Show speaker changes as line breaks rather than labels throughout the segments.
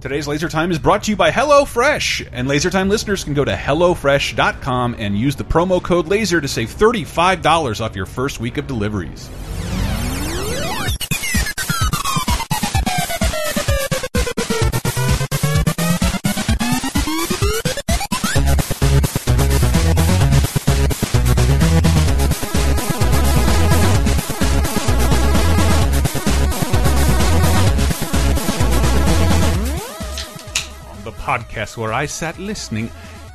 Today's Laser Time is brought to you by HelloFresh, and Laser Time listeners can go to hellofresh.com and use the promo code LASER to save $35 off your first week of deliveries. on the podcast where I sat listening.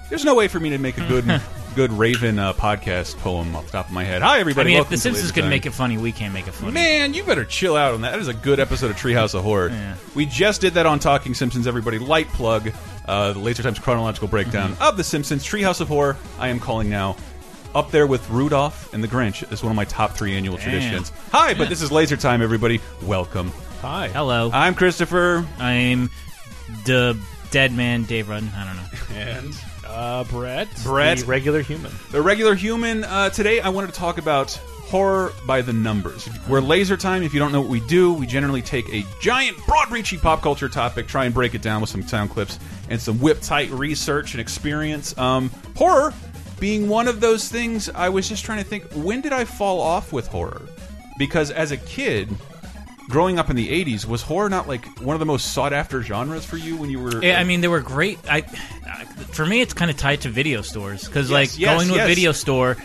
There's no way for me to make a good good Raven uh, podcast poem off the top of my head. Hi
I
everybody.
mean, if
Welcome
The
to
Simpsons
Laser
could
Time.
make it funny, we can't make it funny.
Man, you better chill out on that. That is a good episode of Treehouse of Horror. We just did that on Talking Simpsons, everybody. Light plug, uh, the Laser Times chronological breakdown of The Simpsons. Treehouse of Horror, I am calling now. Up there with Rudolph and the Grinch is one of my top three annual traditions. Hi, but this is Laser Time, everybody. Welcome. Hi.
Hello.
I'm Christopher.
I'm the dead man, Dave Rudden. I don't know.
And
Uh, Brett.
Brett.
The regular human.
The regular human. Uh, today, I wanted to talk about horror by the numbers. We're laser time. If you don't know what we do, we generally take a giant, broad-reaching pop culture topic, try and break it down with some sound clips and some whip-tight research and experience. Um, horror being one of those things. I was just trying to think. When did I fall off with horror? Because as a kid. Growing up in the '80s, was horror not like one of the most sought-after genres for you when you were?
Yeah, I mean, they were great. I, I for me, it's kind of tied to video stores because, like,
yes,
going to
yes.
a video store,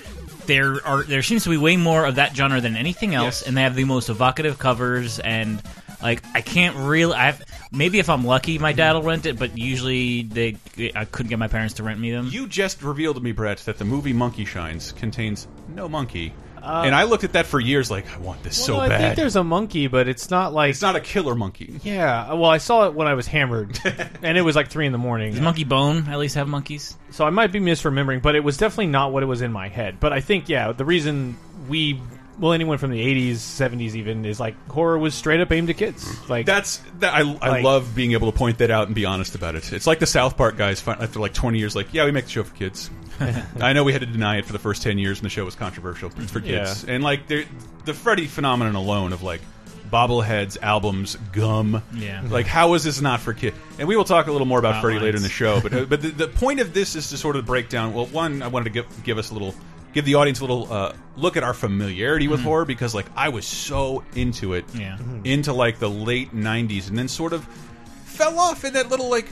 there are there seems to be way more of that genre than anything else,
Yes.
and they have the most evocative covers. And like, I can't really. I have maybe if I'm lucky, my dad will rent it, but usually they I couldn't get my parents to rent me them.
You just revealed to me, Brett, that the movie Monkey Shines contains no monkey, and I looked at that for years, like I want this so
Uh, Well, no, I
bad.
think there's a monkey, but it's not like.
it's not a killer monkey.
yeah. Well, I saw it when I was hammered, and it was like three in the morning.
Does Monkey Bone at least have monkeys?
so I might be misremembering, but it was definitely not what it was in my head. But I think, yeah, the reason we, well, anyone from the '80s, '70s, even, is like horror was straight up aimed at kids. Like
That's that. I, I
Like-
love being able to point that out and be honest about it. It's like the South Park guys fin- after like 20 years, like yeah, we make the show for kids. I know we had to deny it for the first 10 years, and the show was controversial. It's for kids, and like they're- the Freddy phenomenon alone of like bobbleheads, albums, gum.
Yeah.
Like how is this not for kids? And we will talk a little more about
Plot
Freddy later in
lines.
the show, but but the, the point of this is to sort of break down. Well, one, I wanted to give give us a little. Give the audience a little uh, look at our familiarity with horror because, like, I was so into it
Mm-hmm. Yeah.
into like the late 90s and then sort of fell off in that little like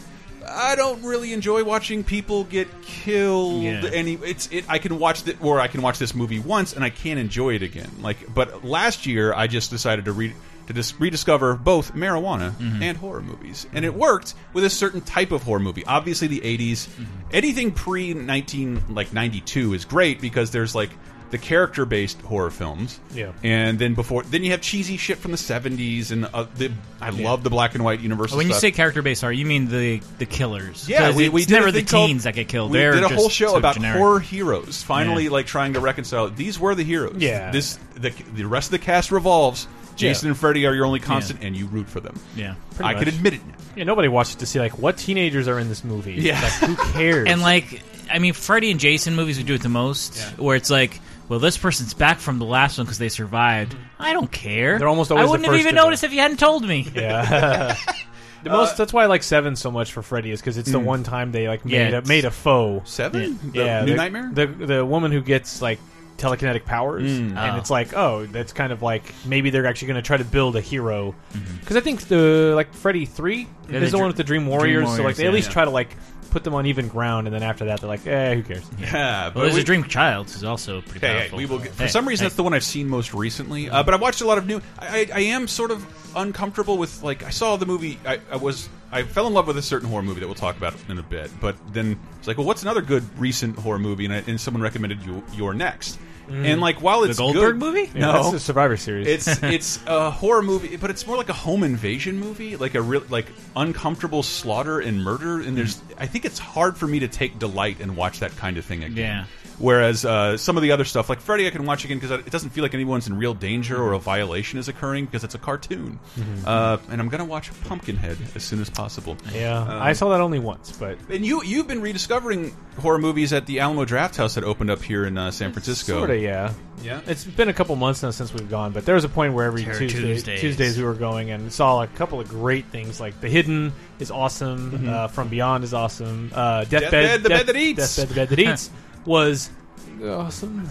I don't really enjoy watching people get killed
Yeah.
any it's it I can watch that or I can watch this movie once and I can't enjoy it again like but last year I just decided to read to dis- rediscover both marijuana
Mm-hmm.
and horror movies and it worked with a certain type of horror movie obviously the 80s
Mm-hmm.
anything pre 19 like 92 is great because there's like the character based horror films
Yeah.
and then before, then you have cheesy shit from the '70s, and uh, the, I love the black and white Universal.
Oh, When you
stuff.
say character based horror, you mean the the killers.
yeah,
'Cause
we,
it's
we did a
never the
thing called-
teens that get killed.
We
They're
did a
just
whole show
so
about
generic.
horror heroes. Finally,
Yeah.
like trying to reconcile these were the heroes.
Yeah.
this the the rest of the cast revolves. Jason and Freddy are your only constant, and you root for them.
Yeah.
I
much.
can admit it. Now.
yeah, nobody watched to see like what teenagers are in this movie.
Yeah.
Like, who cares?
And like, I mean, Freddy and Jason movies would do it the most, where it's like, well, this person's back from the last one because they survived. I don't care.
They're almost always
I
the
wouldn't have
first
even
to go.
noticed if you hadn't told me.
Yeah. the
Uh,
most. that's why I like Seven so much for Freddy is because it's the one time they like
Yeah,
made a
it's-
made a foe.
mm. Seven, The
yeah.
New
the,
Nightmare.
The the woman who gets like telekinetic powers,
Hmm.
Oh.
and it's like, oh, that's kind of like maybe they're actually going to try to build a hero
Mm-hmm.
because I think the like Freddy three
Yeah, the
is the
Dr-
one with the Dream
Dream
Warriors, so like
Warriors,
they
yeah,
at least
yeah.
try to like put them on even ground, and then after that they're like, eh, who cares?
yeah, but
Well, there's
we-
a Dream Child who's also pretty
Hey, hey,
powerful.
we will get, for
Hey,
some reason
hey.
that's the one I've seen most recently. Uh, but I watched a lot of new. I, I, I am sort of uncomfortable with like I saw the movie. I, I was I fell in love with a certain horror movie that we'll talk about in a bit. But then it's like, well, what's another good recent horror movie? And, I, and someone recommended you your next. And like while it's
Mm. Goldberg
good-
movie?
Yeah,
no,
that's the Survivor Series.
it's it's a horror movie, but it's more like a home invasion movie, like a real like uncomfortable slaughter and murder. And
Mm.
there's, I think it's hard for me to take delight and watch that kind of thing again.
Yeah.
Whereas uh, some of the other stuff, like Freddy, I can watch again because it doesn't feel like anyone's in real danger or a
Mm-hmm.
violation is occurring because it's a cartoon. Uh, and I'm gonna watch Pumpkinhead as soon as possible.
yeah,
Oh.
I saw that only once, but
And you you've been rediscovering horror movies at the Alamo Draft House that opened up here in uh, San Francisco.
Sorta, Tuesday, yeah.
Yeah.
It's been a couple months now since we've gone, but there was a point where every
Terror
Tuesday,
Tuesdays.
Tuesdays we were going and saw a couple of great things. Like The Hidden is awesome, uh, From Beyond is awesome, uh,
Deathbed,
Deathbed,
the Mm-hmm. bed that eats.
Deathbed, the bed that eats was awesome.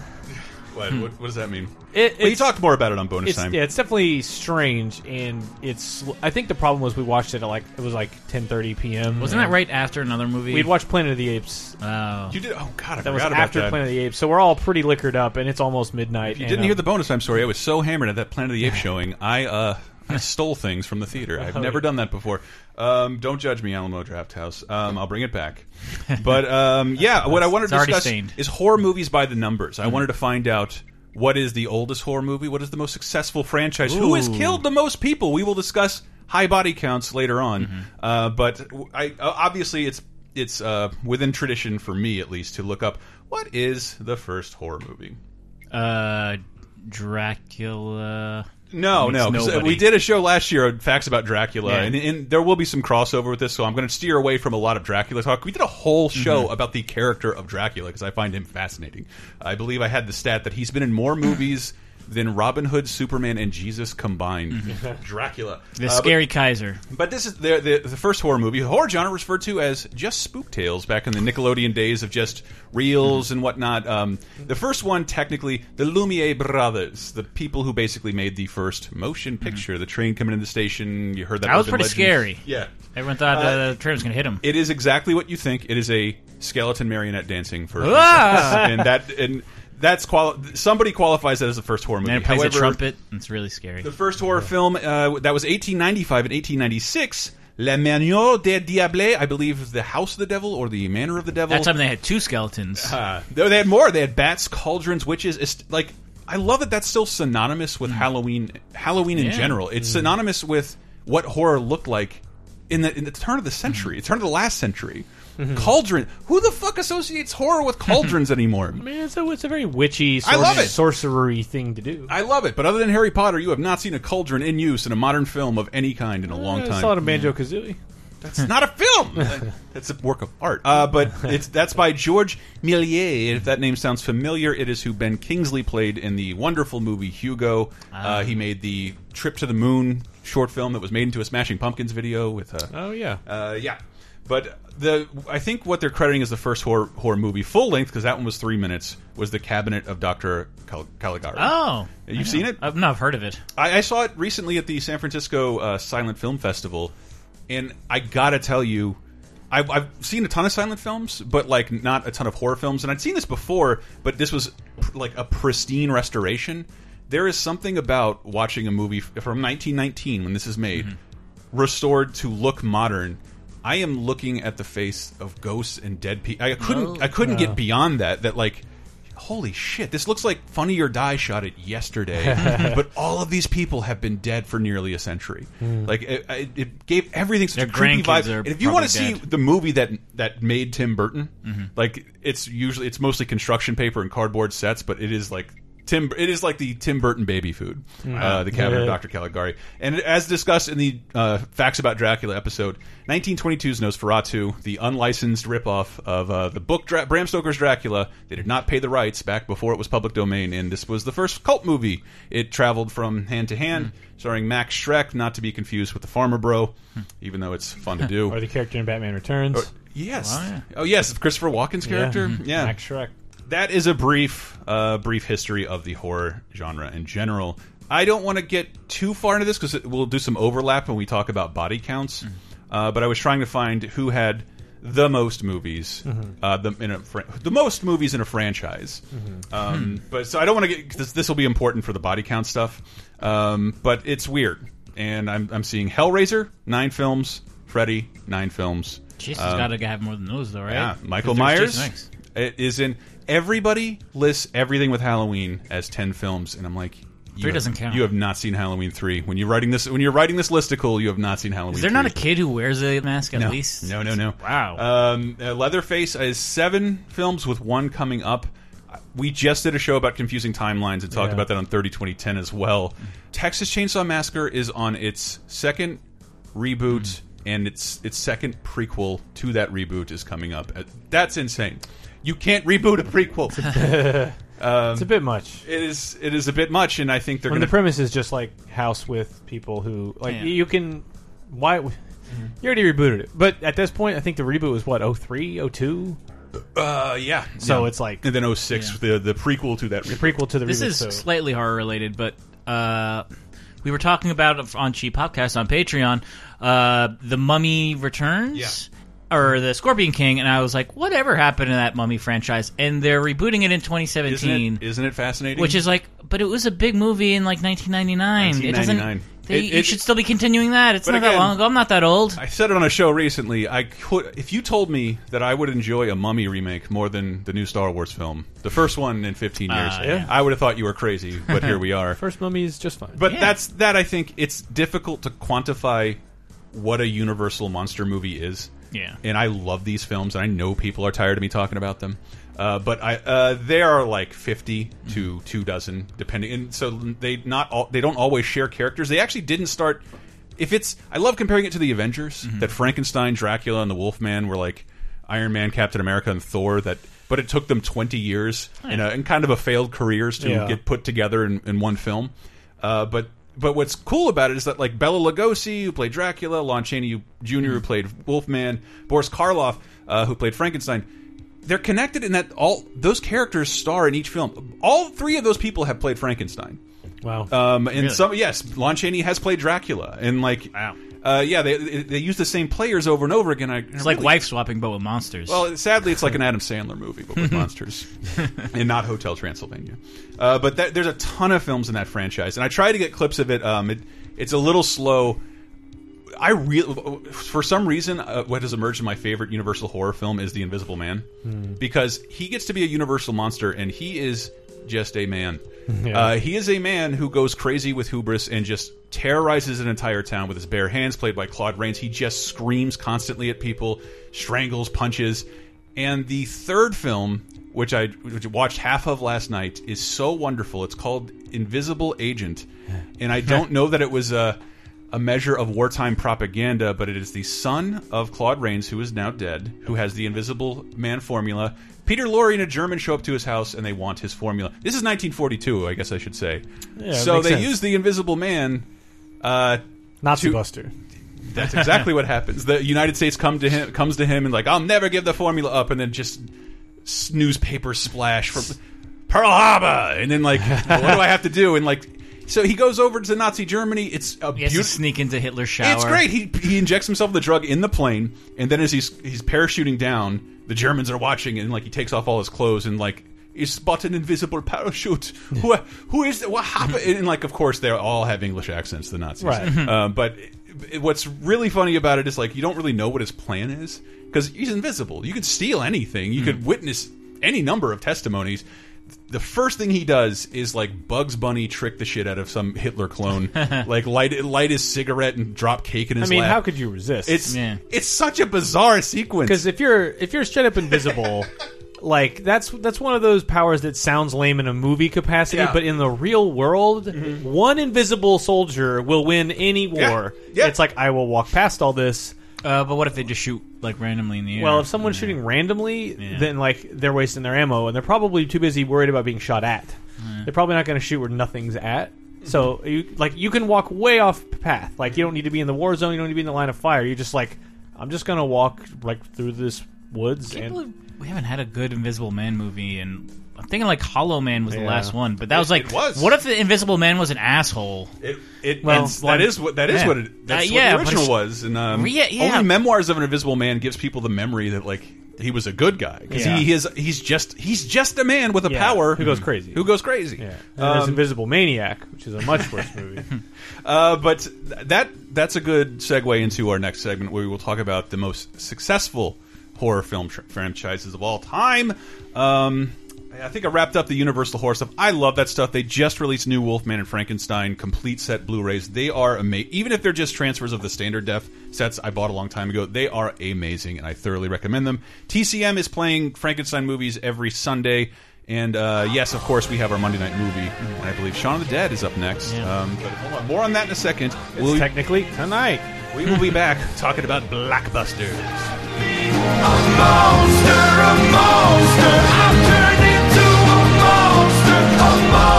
What, what, what does that mean?
It,
Well, you
Hmm. it's-
talked more about it on bonus
it's,
time.
yeah, it's definitely strange, and it's. I think the problem was we watched it at like it was like 10:30 p.m.
Wasn't that right after another movie?
We'd watched Planet of the Apes.
Oh.
You did. Oh God, I
That was
forgot about
after
that.
Planet of the Apes, so we're all pretty liquored up, and it's almost midnight.
If you
and,
didn't
um,
hear the bonus time story, I was so hammered at that Planet of the Apes showing. I uh, I stole things from the
Oh,
theater. I've never done that before. Um, don't judge me, Alamo Draft House. Um, I'll bring it back. But um, yeah, what I wanted
It's
to
already
discuss
stained. Mm-hmm.
is horror movies by the numbers. I wanted to find out what is the oldest horror movie, what is the most successful franchise, who has
Ooh.
killed the most people. We will discuss high body counts later on.
Mm-hmm.
Uh, but w- I uh, obviously it's it's uh, within tradition for me at least to look up what is the first horror movie.
Uh, Dracula.
No,
It's
no, 'cause, uh,
nobody.
we did a show last year on facts about Dracula,
Yeah.
and, and there will be some crossover with this, so I'm going to steer away from a lot of Dracula talk. We did a whole
Mm-hmm.
show about the character of Dracula because I find him fascinating. I believe I had the stat that he's been in more movies than Robin Hood, Superman, and Jesus combined.
Mm-hmm.
Dracula,
The
Uh, but-
Scary Kaiser.
but this is the, the the first horror movie. Horror genre referred to as just spook tales back in the Nickelodeon days of just reels and whatnot. Um, the first one, technically, the Lumiere brothers, the people who basically made the first motion picture. The train coming in the station. You heard that
Mm-hmm. That was
urban
pretty
legend.
scary.
Yeah.
Everyone thought uh, the train was going to hit him.
It is exactly what you think. It is a skeleton marionette dancing for,
Ah!
and that and that's quali- somebody qualifies that as the first horror movie.
and it plays
However,
a trumpet. and It's really scary.
the first horror film uh, that was 1895 and 1896, La Manière des Diables, I believe the House of the Devil or the Manor of the Devil.
that time they had two skeletons.
Uh, though they had more. They had bats, cauldrons, witches. It's, like I love that that's still synonymous
Hmm.
with Halloween. Halloween in
Yeah.
general, it's synonymous with what horror looked like in the in the turn of the
Hmm.
century, turn of the last century. Cauldron. Who the fuck associates horror with
Hmm.
cauldrons anymore?
I mean, it's a, it's a very witchy,
I
sorcery,
love it.
sorcery thing to do.
I love it, but other than Harry Potter, you have not seen a cauldron in use in a modern film of any kind in a long
Yeah,
time.
I saw it in Banjo Kazooie.
It's not a film. That's a work of art. Uh, but it's that's by George Millier. If that name sounds familiar, it is who Ben Kingsley played in the wonderful movie Hugo. Uh, he made the Trip to the Moon short film that was made into a Smashing Pumpkins video with. Uh,
Oh yeah,
uh, yeah, but the I think what they're crediting as the first horror, horror movie full length because that one was three minutes was the Cabinet of Doctor Cal Caligari.
oh,
You've seen it?
I've not heard of it.
I, I saw it recently at the San Francisco uh, Silent Film Festival, and I gotta tell you, I've, I've seen a ton of silent films, but like not a ton of horror films, and I'd seen this before, but this was pr like a pristine restoration. There is something about watching a movie f- from 1919 when this is made, restored to look modern. I am looking at the face of ghosts and dead people. I couldn't.
Oh.
I couldn't get beyond that. That like, holy shit, this looks like Funny or Die shot it yesterday. but all of these people have been dead for nearly a century. Like, it, it- it gave everything such
Their
a creepy
grandkids
vibe.
are
And if you want to see
probably dead. Mm-hmm.
the movie that that made Tim Burton, like it's usually it's mostly construction paper and cardboard sets, but it is like. Tim, it is like the Tim Burton baby food, uh, the cabinet of
Yeah.
Dr. Dr. Caligari. And as discussed in the uh, Facts About Dracula episode, 1922's Nosferatu, the unlicensed ripoff of uh, the book Dra Bram Stoker's Dracula, they did not pay the rights back before it was public domain, and this was the first cult movie. It traveled from hand to hand, starring Max Schreck, not to be confused with the Farmer Bro, even though it's fun to
or
do.
the character in Batman Returns.
Yes.
Wow, yeah.
Oh, yes, Christopher Walken's character. Yeah
Mm-hmm. Max Shrek.
that is a brief uh, brief history of the horror genre in general. I don't want to get too far into this because we'll do some overlap when we talk about body counts. Uh, but I was trying to find who had the most movies, uh, the in a fr the most movies in a franchise. Um, but so I don't want to get 'cause this will be important for the body count stuff. Um, but it's weird, and I'm I'm seeing Hellraiser nine films, Freddy nine films.
Jesus,
Um,
got to have more than those, though, right?
yeah, Michael
'Cause
Myers
there's Jason X.
it is in. Everybody lists everything with Halloween as ten films, and I'm like, you
Three
have-
doesn't count.
You have not seen Halloween three. When you're writing this, when you're writing this listicle, you have not seen Halloween.
Is there not a
3.
kid who wears a mask at
no.
least?
No, no, no.
Wow.
Um, uh, Leatherface is seven films with one coming up. We just did a show about confusing timelines and talked
Yeah.
about that on 30 2010 as well. Texas Chainsaw Massacre is on its second reboot, and its its second prequel to that reboot is coming up. Uh, That's insane. You can't reboot a prequel. Um,
It's a bit much.
it is it is a bit much, and I think they're
When
going
the premise is just like house with people who like
Yeah.
you can why
Mm-hmm.
you already rebooted it. But at this point, I think the reboot was what 03, 02?
uh, yeah.
So
yeah.
it's like
and then 06, the the prequel to that.
the prequel to the
This
reboot.
is
so-
slightly horror related, but uh, we were talking about it on Cheap Podcast on Patreon. Uh, the Mummy Returns. Or the Scorpion King, and I was like, whatever happened to that Mummy franchise? And they're rebooting it in 2017.
Isn't it, isn't it fascinating?
which is like, but it was a big movie in like 1999. It doesn't.
1999.
They,
It-
you
it-
should still be continuing that. It's
But
not that
again-
long ago. I'm not that old.
I said it on a show recently. I could, if you told me that I would enjoy a Mummy remake more than the new Star Wars film, the first one in 15 years,
Ah,
yeah.
I would have thought you were crazy. But here we are.
first mummy is just fine.
But
Yeah.
that's that. I think it's difficult to quantify what a Universal monster movie is.
Yeah.
and I love these films, and I know people are tired of me talking about them. Uh, but I, uh, they are like fifty
Mm-hmm.
to two dozen, depending. And so they not all, they don't always share characters. They actually didn't start. If it's, I love comparing it to the Avengers.
Mm-hmm.
That Frankenstein, Dracula, and the Wolfman were like Iron Man, Captain America, and Thor. That, but it took them twenty years
Oh,
and, a, and kind of a failed careers to
Yeah.
get put together in, in one film. Uh, but but what's cool about it is that like Bella Lugosi, who played Dracula, Lon Chaney who- Jr.,
Mm-hmm.
who played Wolfman, Boris Karloff, uh, who played Frankenstein, they're connected in that all those characters star in each film. All three of those people have played Frankenstein.
wow.
Um, and
Really?
some yes, Lon Chaney has played Dracula, and like
Wow.
uh, yeah, they they use the same players over and over again. I,
It's like wife swapping, but with monsters.
well, sadly, it's like an Adam Sandler movie, but with monsters, and not Hotel Transylvania. Uh, but that, there's a ton of films in that franchise, and I try to get clips of it. Um, it it's a little slow. I real for some reason, uh, what has emerged in my favorite Universal horror film is The Invisible Man, because he gets to be a Universal monster, and he is just a man.
Yeah.
Uh, he is a man who goes crazy with hubris and just terrorizes an entire town with his bare hands, played by Claude Rains. He just screams constantly at people, strangles, punches. And the third film, which I which I watched half of last night, is so wonderful. It's called Invisible Agent, and I don't know that it was uh, a a measure of wartime propaganda, but it is the son of Claude Rains, who is now dead, who has the Invisible Man formula. Peter Lorre and a German show up to his house and they want his formula. This is 1942, I guess I should say.
Yeah,
so
makes
they
sense.
use the Invisible Man. Uh,
Nazi
to-
Buster.
that's exactly what happens. The United States come to him, comes to him, and like, I'll never give the formula up, and then just s- newspaper splash from Pearl Harbor, and then like, what do I have to do? And like, so he goes over to Nazi Germany. It's a
he has to
beautiful.
sneak into Hitler's shower.
It's great. He he injects himself with the drug in the plane, and then as he's he's parachuting down, the Germans are watching, and like he takes off all his clothes and like is but an invisible parachute. Who who is what happened? And like of course they all have English accents, the Nazis.
Right.
Uh, but it- what's really funny about it is like you don't really know what his plan is because he's invisible. You could steal anything.
Hmm.
You could witness any number of testimonies. The first thing he does is like Bugs Bunny trick the shit out of some Hitler clone, like light light his cigarette and drop cake in
I
his
mean,
lap.
how could you resist?
it's
Yeah.
it's such a bizarre sequence.
because if you're if you're straight up invisible, like that's that's one of those powers that sounds lame in a movie capacity,
Yeah. Mm-hmm.
but in the real world, one invisible soldier will win any war.
Yeah.
It's like I will walk past all this.
Uh, but what if they just shoot like randomly in the air?
Well, if someone's shooting randomly, then like they're wasting their ammo, and they're probably too busy worried about being shot at. They're probably not going to shoot where nothing's at. So you like you can walk way off path. Like you don't need to be in the war zone. You don't need to be in the line of fire. You're just like I'm just going to walk like through this woods
I can't
and.
believe we haven't had a good Invisible Man movie, and I'm thinking like Hollow Man was the
Yeah.
last one, but that was
It-
like,
it was.
what if the Invisible Man was an asshole?
it, it
Well,
it's- that
one-
is what that is
yeah.
what it, that's
Uh,
what
yeah,
the
but
original
it's-
was, and um,
Yeah, yeah.
only Memoirs of an Invisible Man gives people the memory that like he was a good guy because
Yeah.
he is he's just he's just a man with a
Yeah,
power
who goes crazy.
who goes crazy.
Yeah. And then there's
Um,
Invisible Maniac, which is a much worse movie.
Uh, but th- that that's a good segue into our next segment where we will talk about the most successful horror film tr- franchises of all time. Um, I think I wrapped up the Universal horror stuff. I love that stuff. They just released New Wolfman and Frankenstein complete set Blu-rays. They are amazing. Even if they're just transfers of the standard def sets I bought a long time ago, they are amazing, and I thoroughly recommend them. TCM is playing Frankenstein movies every Sunday. And uh, yes, of course, we have our Monday night movie. And I believe Shaun of the Dead is up next.
Yeah.
Um, but hold on, more on that in a second.
It's
We'll,
technically tonight.
we will be back talking about blockbusters.
monster, a monster. I've turned into a monster.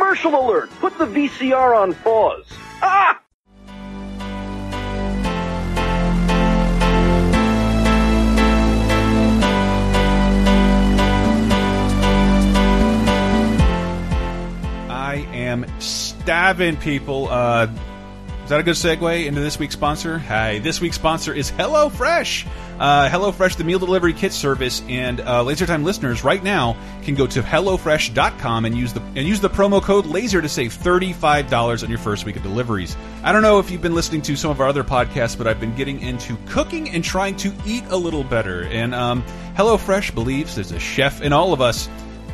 Special alert! Put the VCR on pause. Ah!
I am stabbing people. Uh, is that a good segue into this week's sponsor? Hi, this week's sponsor is HelloFresh. Uh, HelloFresh, the meal delivery kit service, and uh, LaserTime listeners right now can go to hellofresh.com and use the and use the promo code Laser to save thirty five dollars on your first week of deliveries. I don't know if you've been listening to some of our other podcasts, but I've been getting into cooking and trying to eat a little better. And um, HelloFresh believes there's a chef in all of us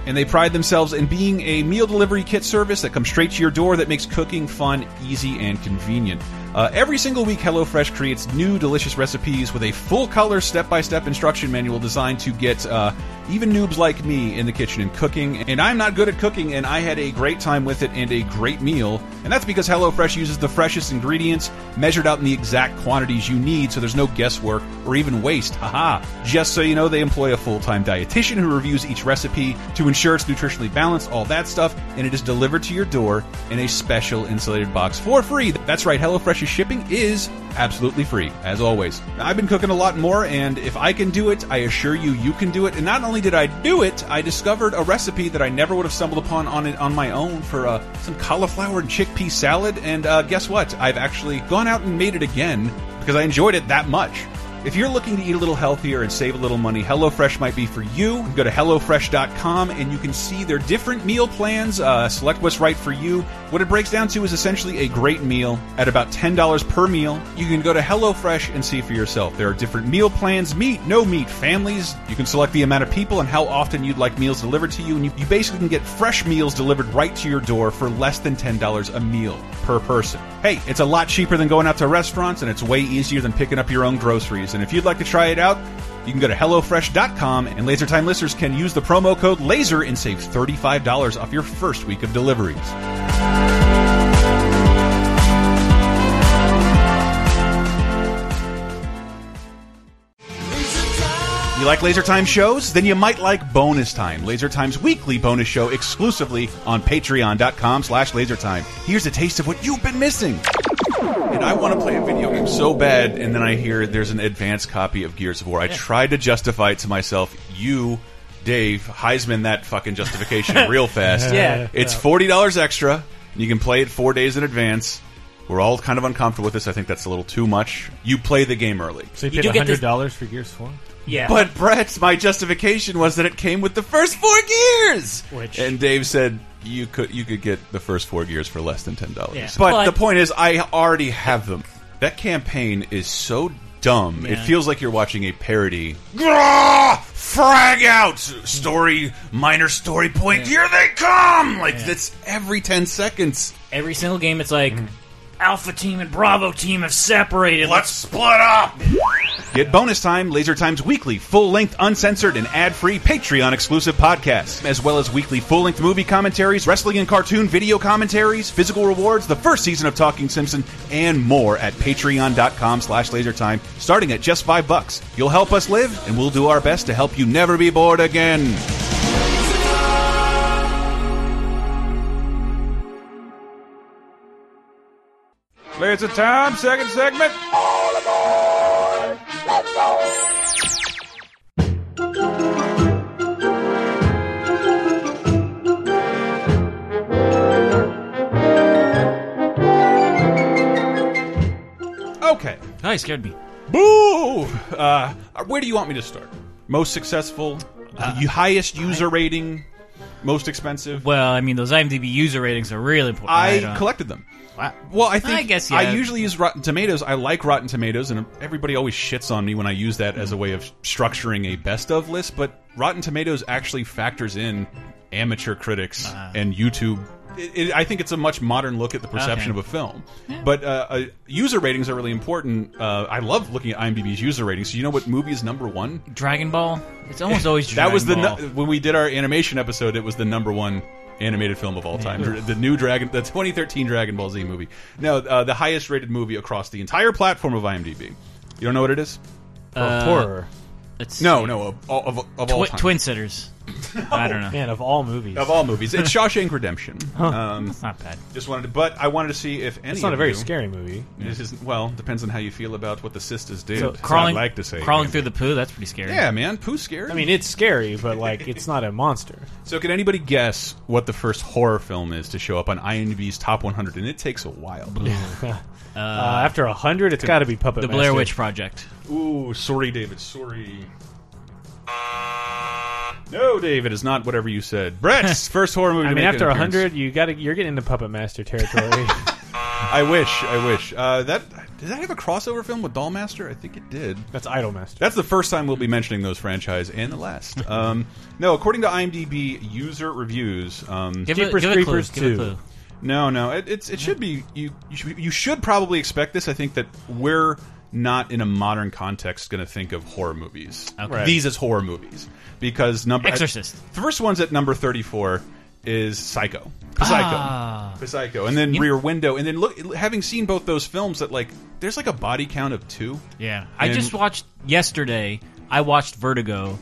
and they pride themselves in being a meal delivery kit service that comes straight to your door that makes cooking fun, easy, and convenient. Uh, every single week, HelloFresh creates new delicious recipes with a full color, step by step instruction manual designed to get uh, even noobs like me in the kitchen and cooking. And I'm not good at cooking, and I had a great time with it and a great meal. And that's because HelloFresh uses the freshest ingredients measured out in the exact quantities you need so there's no guesswork or even waste. Haha. Just so you know, they employ a full time dietitian who reviews each recipe to ensure it's nutritionally balanced, all that stuff, and it is delivered to your door in a special insulated box for free. That's right, HelloFresh's shipping is absolutely free, as always. I've been cooking a lot more, and if I can do it, I assure you, you can do it. And not only did I do it, I discovered a recipe that I never would have stumbled upon on it on my own for uh, some cauliflower and chickpea salad. And uh, guess what? I've actually gone out and made it again because I enjoyed it that much. If you're looking to eat a little healthier and save a little money, HelloFresh might be for you. Go to HelloFresh.com and you can see their different meal plans. Uh, select what's right for you. What it breaks down to is essentially a great meal at about $10 per meal. You can go to HelloFresh and see for yourself. There are different meal plans meat, no meat, families. You can select the amount of people and how often you'd like meals delivered to you. And you, you basically can get fresh meals delivered right to your door for less than $10 a meal per person. Hey, it's a lot cheaper than going out to restaurants and it's way easier than picking up your own groceries. And if you'd like to try it out, you can go to HelloFresh.com and LaserTime listeners can use the promo code LASER and save $35 off your first week of deliveries. You like Laser Time shows? Then you might like Bonus Time, Laser Time's weekly bonus show exclusively on patreon.com slash lasertime. Here's a taste of what you've been missing. And I want to play a video game so bad, and then I hear there's an advanced copy of Gears of War. I tried to justify it to myself. You, Dave, Heisman that fucking justification real fast.
Yeah.
It's $40 extra. and You can play it four days in advance. We're all kind of uncomfortable with this. I think that's a little too much. You play the game early.
So
You
you
do
paid
get this-
hundred dollars for Gears Four.
Yeah.
But Brett, my justification was that it came with the first four gears.
Which-
and Dave said you could you could get the first four gears for less than ten dollars.
Yeah.
But,
But-
the point is, I already have them. That campaign is so dumb. It
Yeah.
feels like you're watching a parody. Grah! Frag out story, minor story point. Here they come! Like that's every ten seconds.
every single game, it's like
Mm-hmm.
Alpha Team and Bravo Team have separated.
Let's split up! Get bonus time, Laser Time's weekly, full length, uncensored, and ad free Patreon exclusive podcast, as well as weekly full length movie commentaries, wrestling and cartoon video commentaries, physical rewards, the first season of Talking Simpson, and more at patreon.com slash lasertime, starting at just five bucks. You'll help us live, and we'll do our best to help you never be bored again. Laser Time, second segment. Okay.
Oh, he scared me.
Boo! Uh, where do you want me to start? Most successful, you highest user rating, most expensive.
Uh, Well, I mean, those IMDb user ratings are really important.
I
don't-
collected them.
Wow.
Well, I think
I guess, yeah.
I usually use Rotten Tomatoes. I like Rotten Tomatoes, and everybody always shits on me when I use that
Mm.
as a way of structuring a best of list. But Rotten Tomatoes actually factors in amateur critics
Ah.
and YouTube. It, it, I think it's a much modern look at the perception
Okay.
of a film. But uh, uh, user ratings are really important. Uh, I love looking at IMDb's user ratings. So you know what movie is number one?
Dragon Ball. It's almost always Dragon
that was the
Ball.
nu- when we did our animation episode. It was the number one animated film of all time. Dra- The new Dragon, the 2013 Dragon Ball Z movie. No, uh, the
Uh,
highest rated movie across the entire platform of IMDb. You don't know what it is?
horror.
It's
No, no, of, of, of all
Twi-
time.
Twin Sitters. I don't know.
Man, of all movies,
Of all movies. It's Shawshank Redemption. Um,
It's not bad.
just wanted to, but I wanted to see if any
it's not
of
a very
you-
scary movie.
This is well depends on how you feel about what the sisters did.
So
So
crawling,
I'd like to say
crawling through the poo. That's pretty scary.
Yeah, man, poo scary.
I mean, it's scary, but like it's not a monster.
so can anybody guess what the first horror film is to show up on IMDb's top 100? And it takes a while.
Uh, after a hundred, it's got to be Puppet
The Blair
Master.
Witch Project.
Ooh, sorry, David. Sorry. No, David is not whatever you said. Brett's first horror movie.
I
to
mean,
make an
after a
appearance.
hundred, you got to you're getting into Puppet Master territory.
I wish. I wish. Uh, that did that have a crossover film with Dollmaster? I think it did.
That's Idol Master.
That's the first time we'll be mentioning those franchise and the last. Um, no, according to IMDb user reviews, um,
Give, a,
Jeepers
give a clue.
Creepers
Give a
2.
clue.
no, no, it, it's it should be you. You should, you should probably expect this. I think that we're not in a modern context going to think of horror movies.
Okay.
These as horror movies because number
Exorcist.
the first one's at number thirty-four is Psycho. Psycho.
Ah.
Psycho, and then Rear Window, and then look. Having seen both those films, that like there's like a body count of two.
Yeah, I
And-
just watched yesterday. I watched Vertigo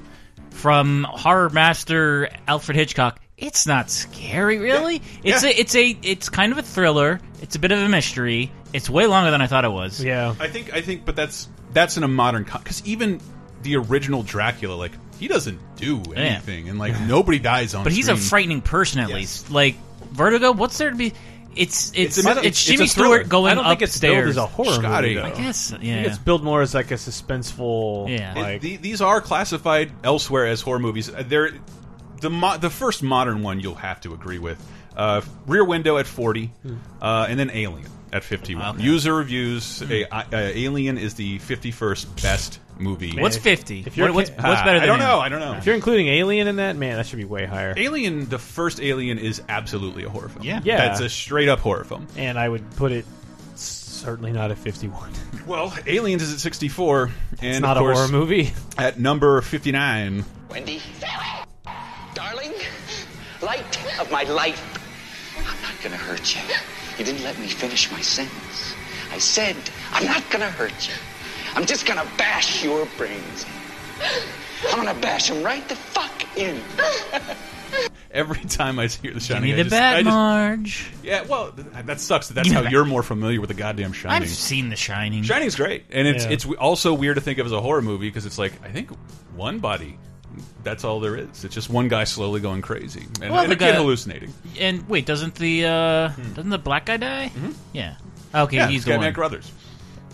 from horror master Alfred Hitchcock. It's not scary, really. It's
Yeah.
a, it's a, it's kind of a thriller. It's a bit of a mystery. It's way longer than I thought it was.
Yeah,
I think I think, but that's that's in a modern because even the original Dracula, like he doesn't do anything, and like nobody dies on.
but he's a
screen.
frightening person at
Yes.
least. Like Vertigo, what's there to be? It's it's
a
it's,
myth- it's- it's
Jimmy
a thriller.
Stewart going
I don't think it's billed
upstairs.
as a horror
Scotty.
movie.
I
Though.
I guess
I
yeah.
think it's billed more as like a suspenseful.
Yeah.
It-
like,
the- these are classified elsewhere as horror movies. Uh, They're the mo the first modern one you'll have to agree with. Uh, Rear Window at forty, uh, and then Alien at fifty-one.
Hmm. Okay. Hmm.
User reviews a, uh, Alien is the fifty-first best movie.
What's
if-
fifty?
if you're
What- what's,
a
Ah,
what's better?
I
Than
don't
him?
know. I don't know.
if you're including Alien in that, man, that should be way higher.
Alien, the first Alien, is absolutely a horror film.
Yeah.
Yeah.
that's a straight-up horror film.
and I would put it certainly not at 51.
Well, Aliens is at 64, and
It's not
of
a
course,
horror movie.
at number 59.
Wendy, darling, light of my life, I'm not gonna hurt you. You didn't let me finish my sentence. I said, I'm not gonna hurt you. I'm just gonna bash your brains. in. I'm gonna bash them right the fuck in.
Every time I hear The
Give
Shining,
me
I
the
just- I just-
bat, Marge.
yeah, well, th- that sucks. That that's
Give me
how
the bat.
you're more familiar with the goddamn Shining.
I've seen The Shining.
Shining's great, and it's
Yeah.
it's w- also weird to think of as a horror movie because it's like I think one body. That's all there is. It's just one guy slowly going crazy and,
Well,
and
the
a kid
guy-
hallucinating.
And wait, doesn't the uh doesn't the black guy die? Yeah.
Hmm. Mm-hmm.
Okay,
Yeah,
he's
Guy
the one.
Carruthers.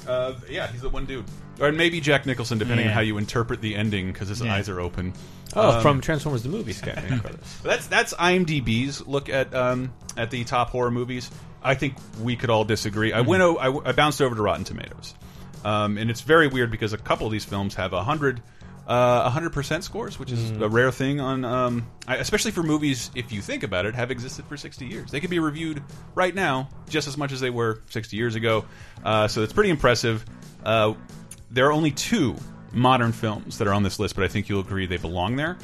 Uh, yeah, he's the one dude, or maybe Jack Nicholson, depending on
Yeah.
how you interpret the ending, because his eyes are open.
Oh, from Transformers the movie, Scott McCarthy's.
But That's that's IMDb's look at um, at the top horror movies. I think we could all disagree. I went o I w I bounced over to Rotten Tomatoes, um, and it's very weird because a couple of these films have a hundred. Uh, 100% scores, which is a rare thing on, um, I- especially for movies. If you think about it, have existed for 60 years. They could be reviewed right now just as much as they were 60 years ago. Uh, so it's pretty impressive. Uh, there are only two modern films that are on this list, but I think you'll agree they belong there.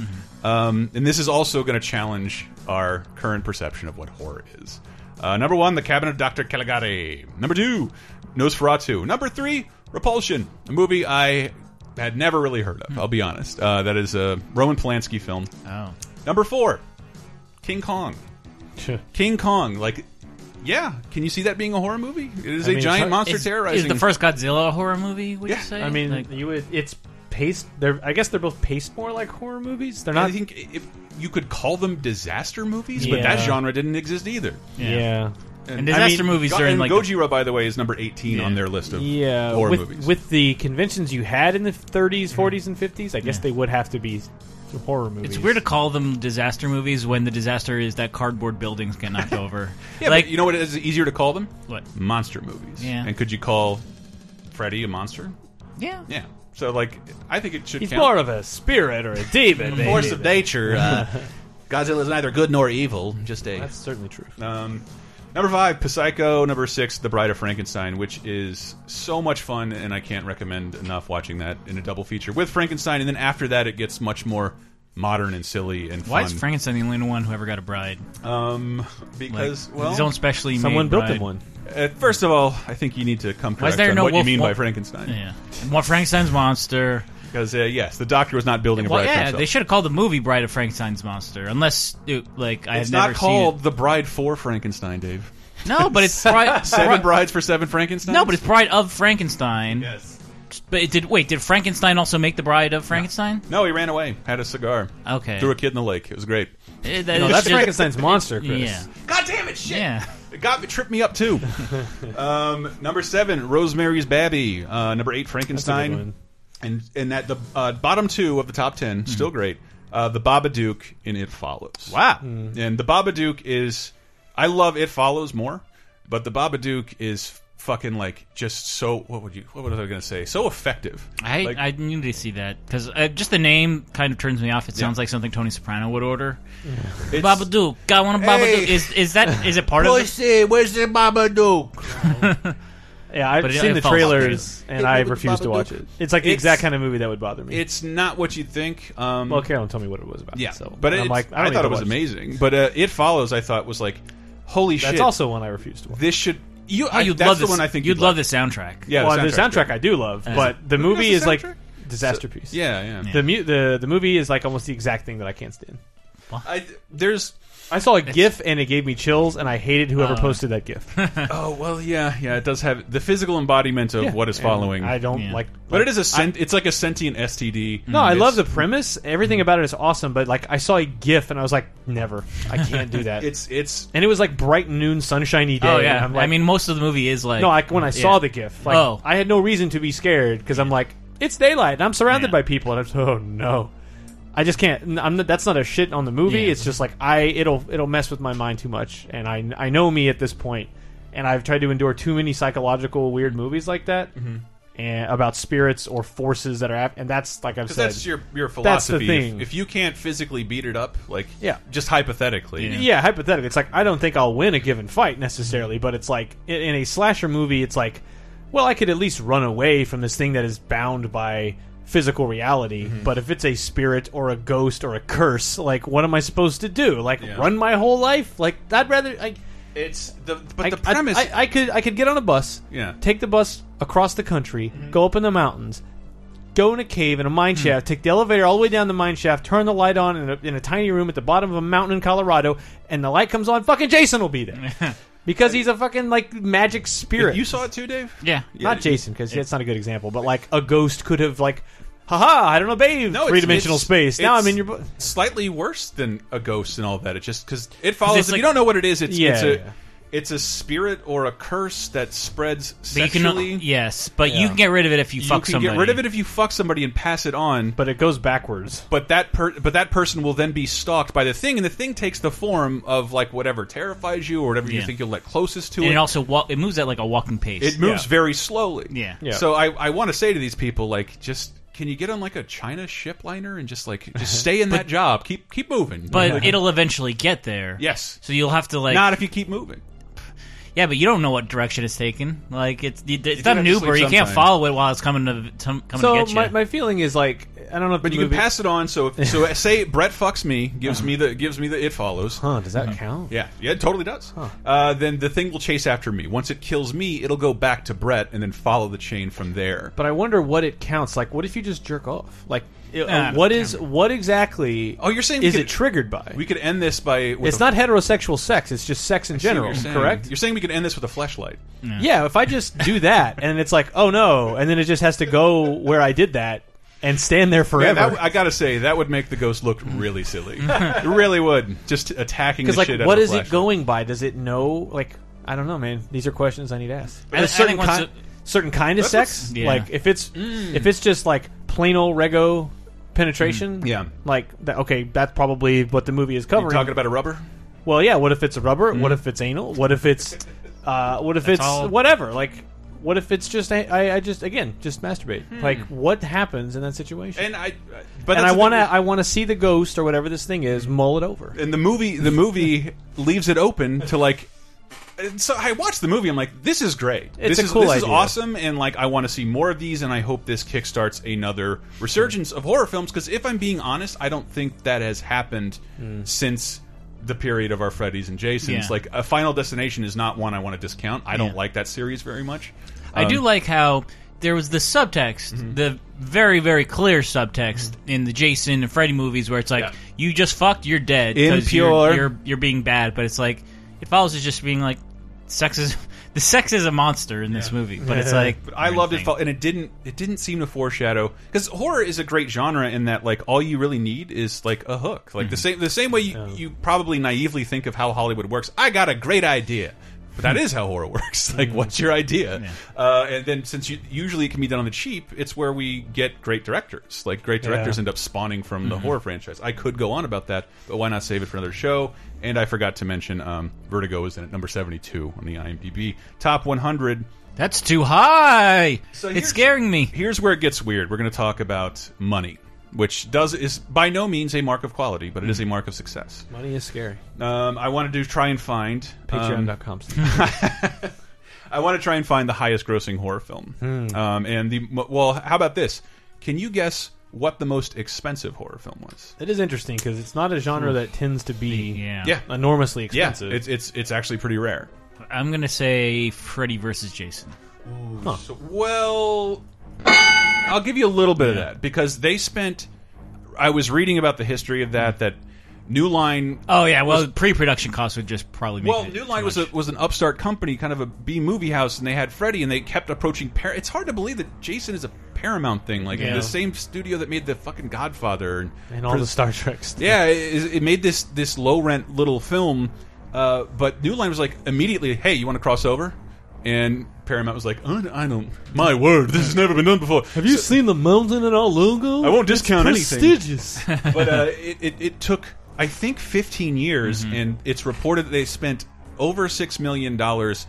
Um, and this is also going to challenge our current perception of what horror is. Uh, number one, The Cabinet of Dr. Caligari. Number two, Nosferatu. Number three, Repulsion, a movie I had never really heard of, I'll be honest. Uh, that is a Roman Polanski film.
Oh.
Number four, King Kong. King Kong, like, yeah, can you see that being a horror movie? It is a
mean,
giant
it's-
monster
Is,
terrorizing.
is the first Godzilla a horror movie, would
Yeah.
you say?
I mean,
Like-
you would. It's paced. They're. I guess they're both paced more like horror movies. They're
I
not.
think if you could call them disaster movies, but
Yeah.
that genre didn't exist either.
yeah.
yeah.
And
I
disaster
mean,
movies
Go-
are in
and
like
Gojira, by the way, is number eighteen
Yeah.
on their list of
Yeah,
horror
with,
movies.
with the conventions you had in the 30s, 40s, and 50s, I guess they would have to be horror movies.
it's weird to call them disaster movies when the disaster is that cardboard buildings get knocked over.
yeah,
like
but you know what is easier to call them?
What?
monster movies?
Yeah.
And could you call Freddy a monster?
yeah.
Yeah. So like, I think it should.
He's
count.
more of a spirit or a demon. baby.
force of nature. Uh, Godzilla is neither good nor evil, just a.
That's certainly true.
Um, number five, Psycho. Number six, The Bride of Frankenstein, which is so much fun, and I can't recommend enough watching that in a double feature with Frankenstein. And then after that, it gets much more modern and silly and
Why
fun.
is Frankenstein the only one who ever got a bride?
um,
Like,
because well,
his own specially
Someone
made
built
bride.
him one.
uh, first of all, I think you need to come
Why
correct
is there
on
no
what you
wolf-
mean by
wolf-
Frankenstein.
Yeah. Well, Frankenstein's monster.
Because uh, yes, the doctor was not building a
Well,
bride. for
yeah,
himself.
they should have called the movie Bride of Frankenstein's Monster, unless it, like I
It's
had
not
never
called the Bride for Frankenstein, Dave.
seen it. No, but it's Bride.
Seven brides for seven Frankenstein.
No, but it's Bride of Frankenstein.
yes.
But it did wait, did Frankenstein also make the Bride of Frankenstein?
No, he ran away. Had a cigar.
Okay.
Threw a kid in the lake. It was great.
Eh, that
No,
is
that's
just-
Frankenstein's monster, Chris.
Yeah.
God damn it! Shit.
Yeah.
It got me tripped me up too. um, number seven, Rosemary's Baby. Uh, number eight, Frankenstein.
That's a good one.
And and that the uh, bottom two of the top ten still
Mm-hmm.
great. Uh, the Babadook and It Follows.
Wow.
And the Babadook is, I love It Follows more, but the Babadook is fucking like just so. What would you? What was I gonna say? So effective.
I
Like-
I need to see that because uh, just the name kind of turns me off. It sounds
Yeah.
like something Tony Soprano would order.
it's-
Babadook, I want a Babadook.
Hey.
Is is that is it part of this?
where's the Babadook?
Yeah, I've
But it-
seen
it
the
falls off,
trailers, and I
Hey, Babadook.
refuse to watch it. It's like the
It's-
exact kind of movie that would bother me.
It's not what you'd think. Um,
well, Carolyn told me what it was about.
Yeah,
so
but
and
it's-
I'm like, I,
I,
don't need
thought
to
it was
watch
amazing. But uh, it follows. I thought was like, holy
That's
shit!
also one I refuse to watch.
this should you.
Oh,
I,
you'd
that's
love
the
this.
one I think
you'd love
like.
the soundtrack.
Yeah,
well, the
soundtrack's
soundtrack
great.
I do love, but the movie
does
is
the
like
soundtrack?
disaster piece.
Yeah, yeah.
The, mu- the the movie is like almost the exact thing that I can't stand.
I, there's.
I saw a GIF and it gave me chills, and I hated whoever
Oh.
posted that GIF.
Oh well, yeah, yeah. It does have the physical embodiment of
Yeah.
what is
And
following.
I don't
Yeah.
like,
but it is a. Sen- it's like a sentient STD.
No, I
It's-
love the premise. Everything about it is awesome, but like I saw a GIF and I was like, never, I can't do that.
It's it's
and it was like bright noon, sunshiny day.
Oh
and
yeah.
I'm like,
I mean, most of the movie is like
no, like when I saw
yeah.
the GIF, like
Oh.
I had no reason to be scared because I'm like, it's daylight and I'm surrounded
Yeah.
by people, and I'm just, oh no, I just can't. n- I'm not, that's not a shit on the movie.
Yeah.
It's just like I it'll it'll mess with my mind too much, and I I know me at this point, and I've tried to endure too many psychological weird movies like that.
Mm-hmm.
And about spirits or forces that are, af- and that's like I've
because
said,
that's your your
That's the
philosophy.
thing.
If, if you can't physically beat it up, like
Yeah.
just hypothetically,
Yeah.
yeah, hypothetically, it's like I don't think I'll win a given fight necessarily, but it's like in, in a slasher movie, it's like, well, I could at least run away from this thing that is bound by physical reality.
Mm-hmm.
But if it's a spirit or a ghost or a curse, like what am I supposed to do? Like
Yeah.
run my whole life? Like I'd rather like.
it's the but
I,
the premise.
I, I, I could I could get on a bus,
Yeah.
take the bus across the country,
Mm-hmm.
go up in the mountains, go in a cave in a
Mm.
mine shaft, take the elevator all the way down the mine shaft, turn the light on in a, in a tiny room at the bottom of a mountain in Colorado, and the light comes on. Fucking Jason will be there because he's a fucking like magic spirit.
you saw it too, Dave.
yeah.
not Jason because that's not a good example, but like a ghost could have like. Haha! I don't obey
No, it's-
three dimensional
it's-
space. Now
it's-
I'm in your. Bu-
slightly worse than a ghost and all that. It just because it follows. If
it's like-
you don't know what it is, it's
Yeah,
it's
yeah,
a
yeah.
it's a spirit or a curse that spreads
But you can
sexually.
yes, but
Yeah.
you can get rid of it if you
You
fuck
can
somebody.
get rid of it if you fuck somebody and pass it on. But
but it goes backwards.
but that per but that person will then be stalked by the thing, and the thing takes the form of like whatever terrifies you or whatever you
Yeah.
think you'll let closest to
and
it.
it also wa- it moves at like a walking pace.
it moves
yeah.
very slowly.
Yeah.
Yeah.
So I I want to say to these people like just. Can you get on like a China ship liner and just like just stay in that job? Keep keep moving.
but
Like,
it'll eventually get there.
yes,
So you'll have to like
not if you keep moving.
Yeah, but you don't know what direction it's taking. Like it's it's
do have
not
to
new,
sleep
or you can't
sometime.
follow it while it's coming to to- coming to
So
get you.
my, my feeling is like I don't know if
But
the
you can
movie-
pass it on. So if, so say Brett fucks me, gives me the gives me the it follows.
Huh? Does
Mm-hmm.
that count?
Yeah, yeah, it totally does. Uh, then the thing will chase after me. Once it kills me, it'll go back to Brett and then follow the chain from there.
But I wonder what it counts. Like, what if you just jerk off? Like, it-
Nah,
uh, what is what exactly?
Oh, you're saying we
is
could-
it triggered by?
we could end this by with
it's
a-
not heterosexual sex. It's just sex in
I see what
general.
you're saying.
Correct?
You're saying we could end this with a flashlight.
Yeah. If I just do that, and it's like, oh no, and then it just has to go where I did that and stand there
Yeah,
forever.
that, I gotta say that would make the ghost look really silly. it really would. Just attacking the
Mm. because like,
shit out
what
of
is it
flashlight.
going by? Does it know? Like, I don't know, man. These are questions I need to ask.
I-
a
I
certain
think once
ki-
it-
certain kind of Mm.
That's
sex.
what's-
Like,
Yeah.
if it's if it's just like plain old rego penetration,
Mm, Yeah.
Like that. Okay, that's probably what the movie is covering.
Talking Mm. about a rubber.
Well, yeah. What if it's rubber? What if it's anal? What if it's, uh, what if it's
all-
whatever? Like, what if it's just I, I, I just again just masturbate? Like, what happens in that situation?
And I, but
And
that's
I
the
want to,
thing.
I want to see the ghost or whatever this thing is mull it over.
and the movie the movie leaves it open to like and so I watched the movie. I'm like, this is great.
It's
this
a
is
cool
this is
idea.
awesome, and like I want to see more of these. And I hope this kickstarts another resurgence of horror films. Because if I'm being honest, I don't think that has happened
Hmm.
since the period of our Freddy's and Jasons.
Yeah.
Like, a Final Destination is not one I want to discount. I don't
Yeah.
like that series very much.
I do like how there was the subtext,
Mm-hmm.
the very very clear subtext in the Jason and Freddy movies where it's like
Yeah.
you just fucked, you're dead.
In
'cause you're-
pure-
you're, you're being bad, but it's like it follows as just being like sex is the sex is a monster in this movie, but it's like
But I loved it,
everything.
felt- and it didn't. It didn't seem to foreshadow because horror is a great genre in that, like, all you really need is like a hook, like the same the same way you, you probably naively think of how Hollywood works. I got a great idea, but that is how horror works. Like, what's your idea? Uh, and then since you, usually it can be done on the cheap, it's where we get great directors. Like, great directors
Yeah.
end up spawning from the horror franchise. I could go on about that, but why not save it for another show? And I forgot to mention um, Vertigo is in at number seventy two on the IMDb top one hundred.
that's too high.
So
it's
here's-
scaring me.
Here's where it gets weird. We're going to talk about money, which does is by no means a mark of quality, but it is a mark of success.
Money is scary.
Um, I wanted to try and find um,
Patreon.com.
I want to try and find the highest grossing horror film. Um, and the well, how about this? Can you guess what the most expensive horror film was?
It is interesting because it's not a genre that tends to be
Yeah.
Hmm. Yeah.
enormously
Yeah,
expensive.
it's it's it's actually pretty rare.
I'm gonna say Freddy versus Jason.
So, well, I'll give you a little bit of that because they spent. I was reading about the history of that. That New Line
Oh yeah, well pre-production costs would just probably make
Well,
it
New
too
Line was a,
much.
was an upstart company, kind of a B movie house, and they had Freddy, and they kept approaching. Par- it's hard to believe that Jason is a Paramount thing, like
Yeah.
the same studio that made the fucking Godfather and,
and all the Star Trek stuff.
yeah, it, it made this this low rent little film. Uh, but New Line was like immediately, "Hey, you want to cross over?" And Paramount was like, "Uh, "I don't. My word, this has never been done before."
Have you seen the mountain in our logo?
I won't discount anything.
Prestigious.
but uh, it, it, it took I think 15 years,
Mm-hmm.
and it's reported that they spent over six million dollars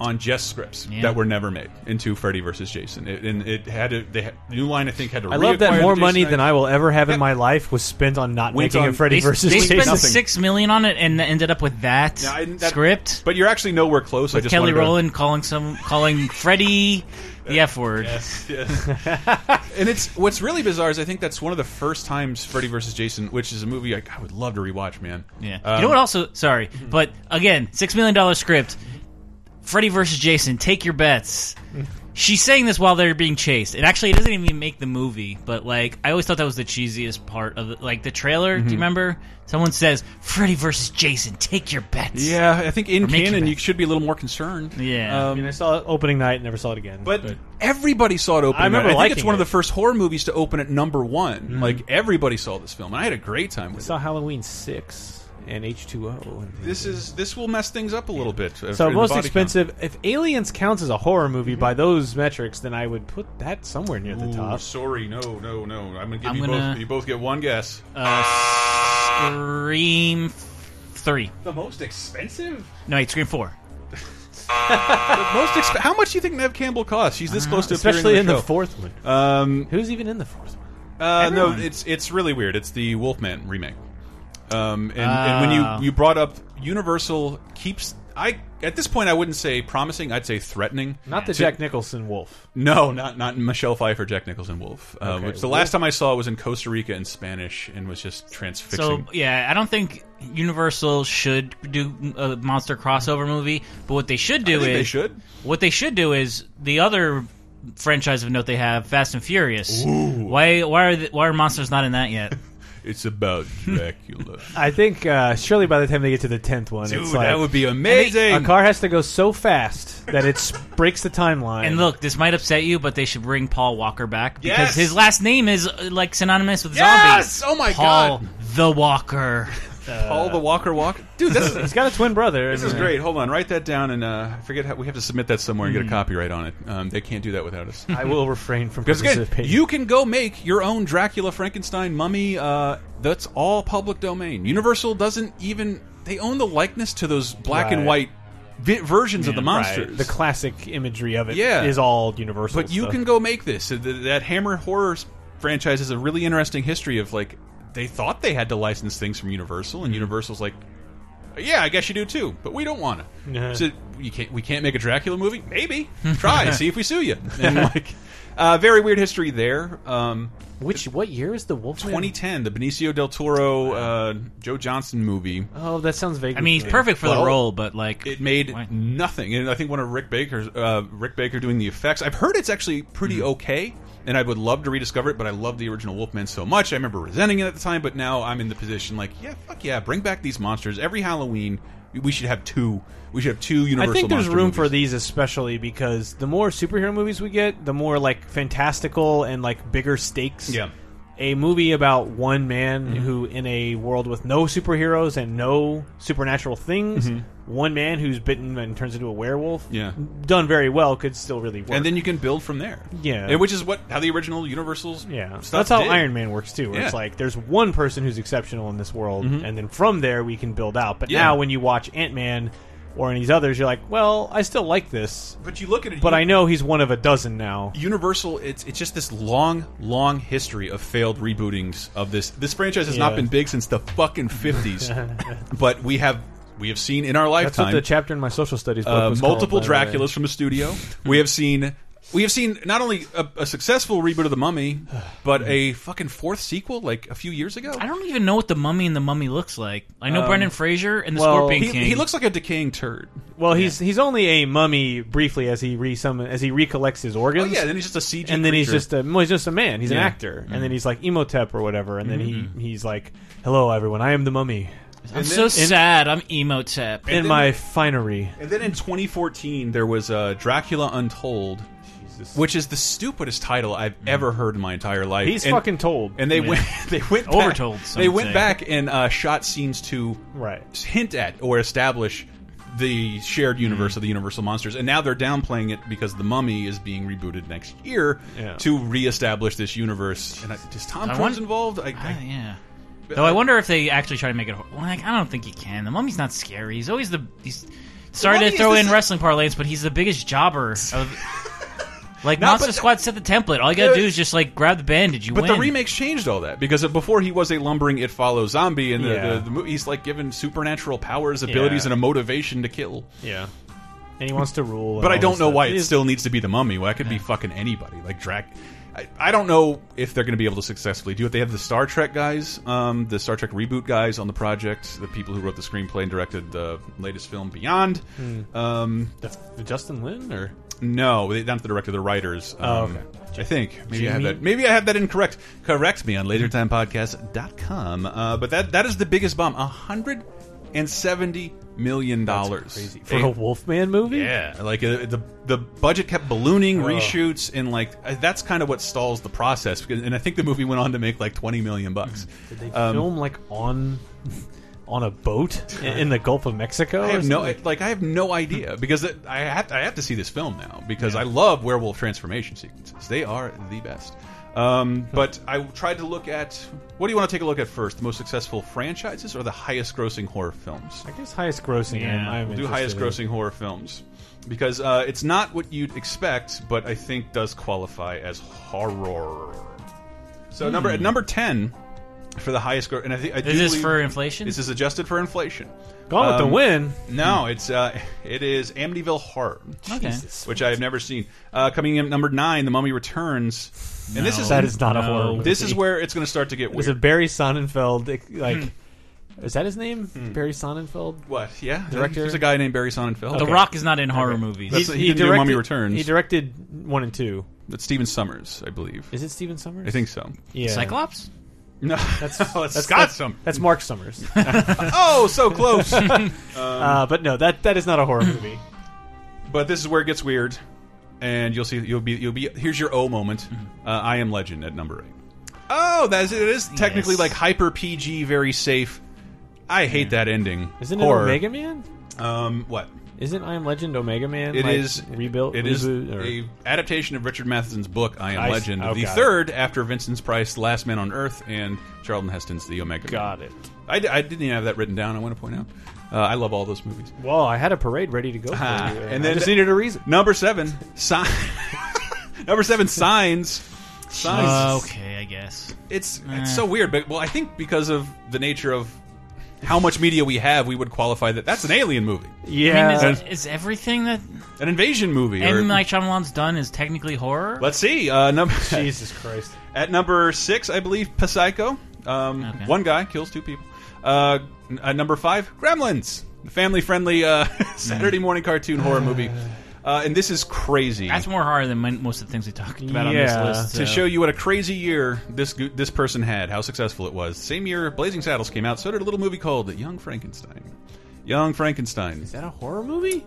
on just scripts
Yeah.
that were never made into Freddy versus Jason. It, and it had to, they had, New Line I think had to.
I love that more money than I will ever have
Yeah.
in my life was spent on not
Went
making
on-
a Freddy
They,
versus
they
Jason.
spent
Nothing.
six million on it and ended up with that,
I didn't- that-
script.
But you're actually nowhere close. I just wanted
Kelly
to-
Rowland calling some calling Freddy the F word.
and it's what's really bizarre is I think that's one of the first times Freddy versus Jason, which is a movie I, I would love to rewatch, man.
Yeah.
Um,
you know what? Also, sorry, but again, six million dollar script. Freddy versus Jason. Take your bets. She's saying this while they're being chased. And actually, it doesn't even make the movie. But like, I always thought that was the cheesiest part of the, like the trailer.
Mm-hmm.
Do you remember? Someone says Freddy versus Jason. Take your bets.
Yeah, Um, I think in
make your
canon
bed.
you should be a little more concerned.
Yeah.
I mean, I saw it opening night and never saw it again.
But everybody saw it Mm-hmm. open.
I remember
night. I think it's
liking
one of
it.
the first horror movies to open at number one. Like everybody saw this film, and I had a great time
I
with
saw
it.
Halloween 6 and H2O. And
This is this will mess things up a little bit. uh,
so
for the
most
body count. Mm-hmm.
expensive. If Aliens counts as a horror movie by those metrics, then I would put that somewhere near the
Ooh,
top.
sorry, no, no, no. I'm gonna give
I'm
you both.
gonna-
You both get one guess.
Uh,
Uh, Scream f- three.
the most expensive.
No, wait, Scream four.
The most exp- How much do you think Nev Campbell costs? She's this close to
Uh, Especially
appearing
in
on the
the
show.
fourth one.
Um,
Who's even in the fourth one?
uh, no,
Everyone.
it's it's really weird. It's the Wolfman remake. Um, and, and when
Ah.
you you brought up Universal keeps I at this point I wouldn't say promising. I'd say threatening.
Not the
to-
Jack Nicholson wolf.
No, not not Michelle Pfeiffer, Jack Nicholson, Wolf. Uh,
Okay,
which the
Wolf.
last time I saw was in Costa Rica in Spanish and was just transfixing.
So yeah, I don't think Universal should do a monster crossover movie. But what they should do
I think
is
they should.
What they should do is the other franchise of note they have, Fast and Furious. Why why are the, why are monsters not in that yet?
It's about Dracula.
I think uh, surely by the time they get to the tenth one,
Dude,
it's like
that would be amazing.
a car has to go so fast that it breaks the timeline.
and look, this might upset you, but they should bring Paul Walker back because
Yes!
his last name is uh, like synonymous with
Yes!
zombies.
Oh my
Paul
God.
the Walker.
All the Walker Walk, dude. This is
he's got a twin brother.
this is great. Hold on, write that down and uh, I forget how we have to submit that somewhere and get a copyright on it. Um, they can't do that without us.
I will refrain from
Because again,
purposes of pain.
you can go make your own Dracula, Frankenstein, Mummy. Uh, that's all public domain. Universal doesn't even they own the likeness to those black and white
Right.
vi- versions of the
Right.
monsters.
The classic imagery of it
Yeah.
is all universal.
But you
stuff.
can go make this. So th- That Hammer horror s- franchise is a really interesting history of like they thought they had to license things from Universal, and Universal's like, yeah, I guess you do too, but we don't want to.
Yeah.
So you can't, we can't make a Dracula movie. Maybe try see if we sue you. And like, uh, very weird history there. Um,
Which what year is the Wolfman?
2010, the Benicio del Toro uh, Joe Johnson movie.
Oh, that sounds vague.
I mean, he's perfect for
Well,
the role, but like
It made
Why-
nothing, and I think one of Rick Baker's uh, Rick Baker doing the effects. I've heard it's actually pretty
Hmm.
okay, and I would love to rediscover it. But I love the original Wolfman so much. I remember resenting it at the time, but now I'm in the position like, yeah, fuck yeah, bring back these monsters every Halloween. We should have two. We should have two
I
Universal.
think there's
monster
room
movies.
for these, especially because the more superhero movies we get, the more like fantastical and like bigger stakes.
Yeah. Mm-hmm.
A movie about one man who, in a world with no superheroes and no supernatural things, one man who's bitten and turns into a werewolf,
Mm-hmm. Yeah.
done very well, could still really work.
and then you can build from there.
Yeah.
And which is what how the original Universal's
yeah,
stuff
that's how
did.
Iron Man works too. Where It's
Yeah. Mm-hmm.
like there's one person who's exceptional in this world, and then from there we can build out. But
Yeah.
now when you watch Ant Man or any of these others, you're like, well, I still like this,
But you look at it,
but
you-
I know he's one of a dozen now.
Universal, it's it's just this long, long history of failed rebootings of this. This franchise has not
Yeah.
been big since the fucking fifties, but we have we have seen in our
That's
lifetime
what the chapter in my social studies book
uh,
was
multiple
called, by the way.
Draculas from the studio. We have seen we have seen not only a, a successful reboot of the Mummy, but a fucking fourth sequel like a few years ago.
I don't even know what the mummy and the mummy looks like. I know Brendan Fraser and the
well,
Scorpion
Um, He,
King.
he looks like a decaying turd. Oh,
Well, he's he's only a mummy briefly as he re summon as he recollects his
Oh
organs.
yeah, then he's just a CG,
and then he's
creature.
just a well, he's just a man. He's an
Yeah. Mm-hmm.
actor, and then he's like Emotep or whatever, and then he he's like, "Hello, everyone. I am the mummy
I'm
and
so
then-
sad. I'm emo tap.
in
then-
my finery."
And then in 2014, there was uh, Dracula Untold, which is the stupidest title I've ever heard in my entire life.
Mm-hmm. He's
And-
fucking told.
And they went, they went back,
Overtold, some
They
would
went
say.
back and uh, shot scenes to
Right.
hint at or establish the
Mm-hmm.
shared universe of the Universal monsters, and now they're downplaying it because the Mummy is being rebooted next year
Yeah.
to reestablish this universe. And I, is Tom
I
Cruise
want-
involved? I,
Ah,
I,
yeah. Though I wonder if they actually try to make it. hor- Like I don't think he can. The mummy's not scary. He's always the. He's sorry
mummy
to
is
throw
the
in
s-
wrestling parlays, but he's the biggest jobber of. Like
No,
Monster
but-
Squad set the template. All you gotta
Uh,
do is just like grab the bandage. You
but
win.
the remakes changed all that because before he was a lumbering it follows zombie, and the,
Yeah.
the, the movie he's like given supernatural powers, abilities, and
Yeah.
a motivation to kill.
Yeah, and he wants to rule. and
But I
all
don't
this
know
stuff.
why it
He's-
still needs to be the mummy. Why it could be fucking anybody, like Drac. I, I don't know if they're going to be able to successfully do it. They have the Star Trek guys, um, the Star Trek reboot guys on the project, the people who wrote the screenplay and directed the latest film Beyond.
Hmm.
Um,
That's Justin Lin or
no, they, not the director, the writers. Um,
Oh, okay.
I think maybe I have
Jamie?
that. Maybe I have that incorrect. Correct me on LaserTimePodcast.com. Uh, but that that is the biggest bomb. A hundred and seventy million dollars
crazy for a Wolfman movie.
yeah, like uh, the the budget kept
Oh.
ballooning, reshoots, and like uh, that's kind of what stalls the process. because- And I think the movie went on to make like twenty million bucks.
Mm-hmm. Did they
Um,
film like on on a boat in, in the Gulf of Mexico?
I
or
have no
something?
like I have no idea because it, I have I have to see this film now because I love werewolf transformation sequences. They are the best. Um, but I tried to look at what do you want to take a look at first? The most successful franchises or the highest grossing horror films?
I guess highest grossing.
Yeah,
I'm, I'm
We'll do
interested
highest
in.
grossing horror films because uh, it's not what you'd expect, but I think does qualify as horror. So number
Hmm.
at number ten for the highest gross, and I think I do
Is this
believe-
for inflation?
This is adjusted for inflation.
Gone with
Um,
the Wind.
No,
Hmm.
it's uh, it is Amityville Horror,
okay.
which I have never seen. Uh, coming in at number nine, The Mummy Returns, and this is
That is not a
No.
horror. Movie.
this is where it's going to start to get
Is it
weird. Hmm.
Barry Sonnenfeld? Like, is that his name? Barry Sonnenfeld.
What? Yeah,
Director?
There's a guy named Barry Sonnenfeld.
The Rock is not in horror movies.
That's- he didn't do Mummy Returns.
He directed one and two.
That's Steven Summers, I believe.
Is it Steven Summers?
I think so.
Yeah.
Cyclops.
No,
That's,
that's
that's
Oh, Scott
that's-
Summers.
That's Mark Summers.
Oh, so close.
uh, but no, that that is not a horror movie.
But this is where it gets weird, and you'll see. You'll be. You'll be. Here's your O moment. Uh, I am Legend at number eight. Oh, that is. It is technically
Yes.
like hyper PG, very safe. I hate that ending.
Isn't it
Horror.
Omega Man?
Um, what?
Isn't I Am Legend Omega Man?
It
like,
is
rebuilt.
It is
reboot, or-
a adaptation of Richard Matheson's book I Am
I s-
Legend,
oh,
the
got it.
third after Vincent Price, Last Man on Earth, and Charlton Heston's The Omega. Man.
Got it.
I, d- I didn't even have that written down. I want to point out. Uh, I love all those movies.
Well, I had a parade ready to go. For
Ah,
you,
and
I
then-
just needed a reason.
Number seven, sign. number seven, signs. Signs.
okay, I guess.
Eh.
It's it's so weird, but well, I think because of the nature of how much media we have, we would qualify that that's an alien movie,
Yeah.
I mean, is, is everything that
an invasion movie. or-
M. Night Shyamalan's done is technically horror?
Let's see. Uh, number
Jesus Christ.
At number six, I believe Psycho. Um,
Okay.
One guy kills two people. Uh, n- at number five, Gremlins, the family-friendly uh,
Mm.
Saturday morning cartoon horror movie. Uh, and this is crazy.
That's more horror than min- most of the things we talked about on
Yeah.
this list.
to
so-
show you what a crazy year this go- this person had, how successful it was. Same year Blazing Saddles came out, so did a little movie called Young Frankenstein. Young Frankenstein.
Is that a horror movie?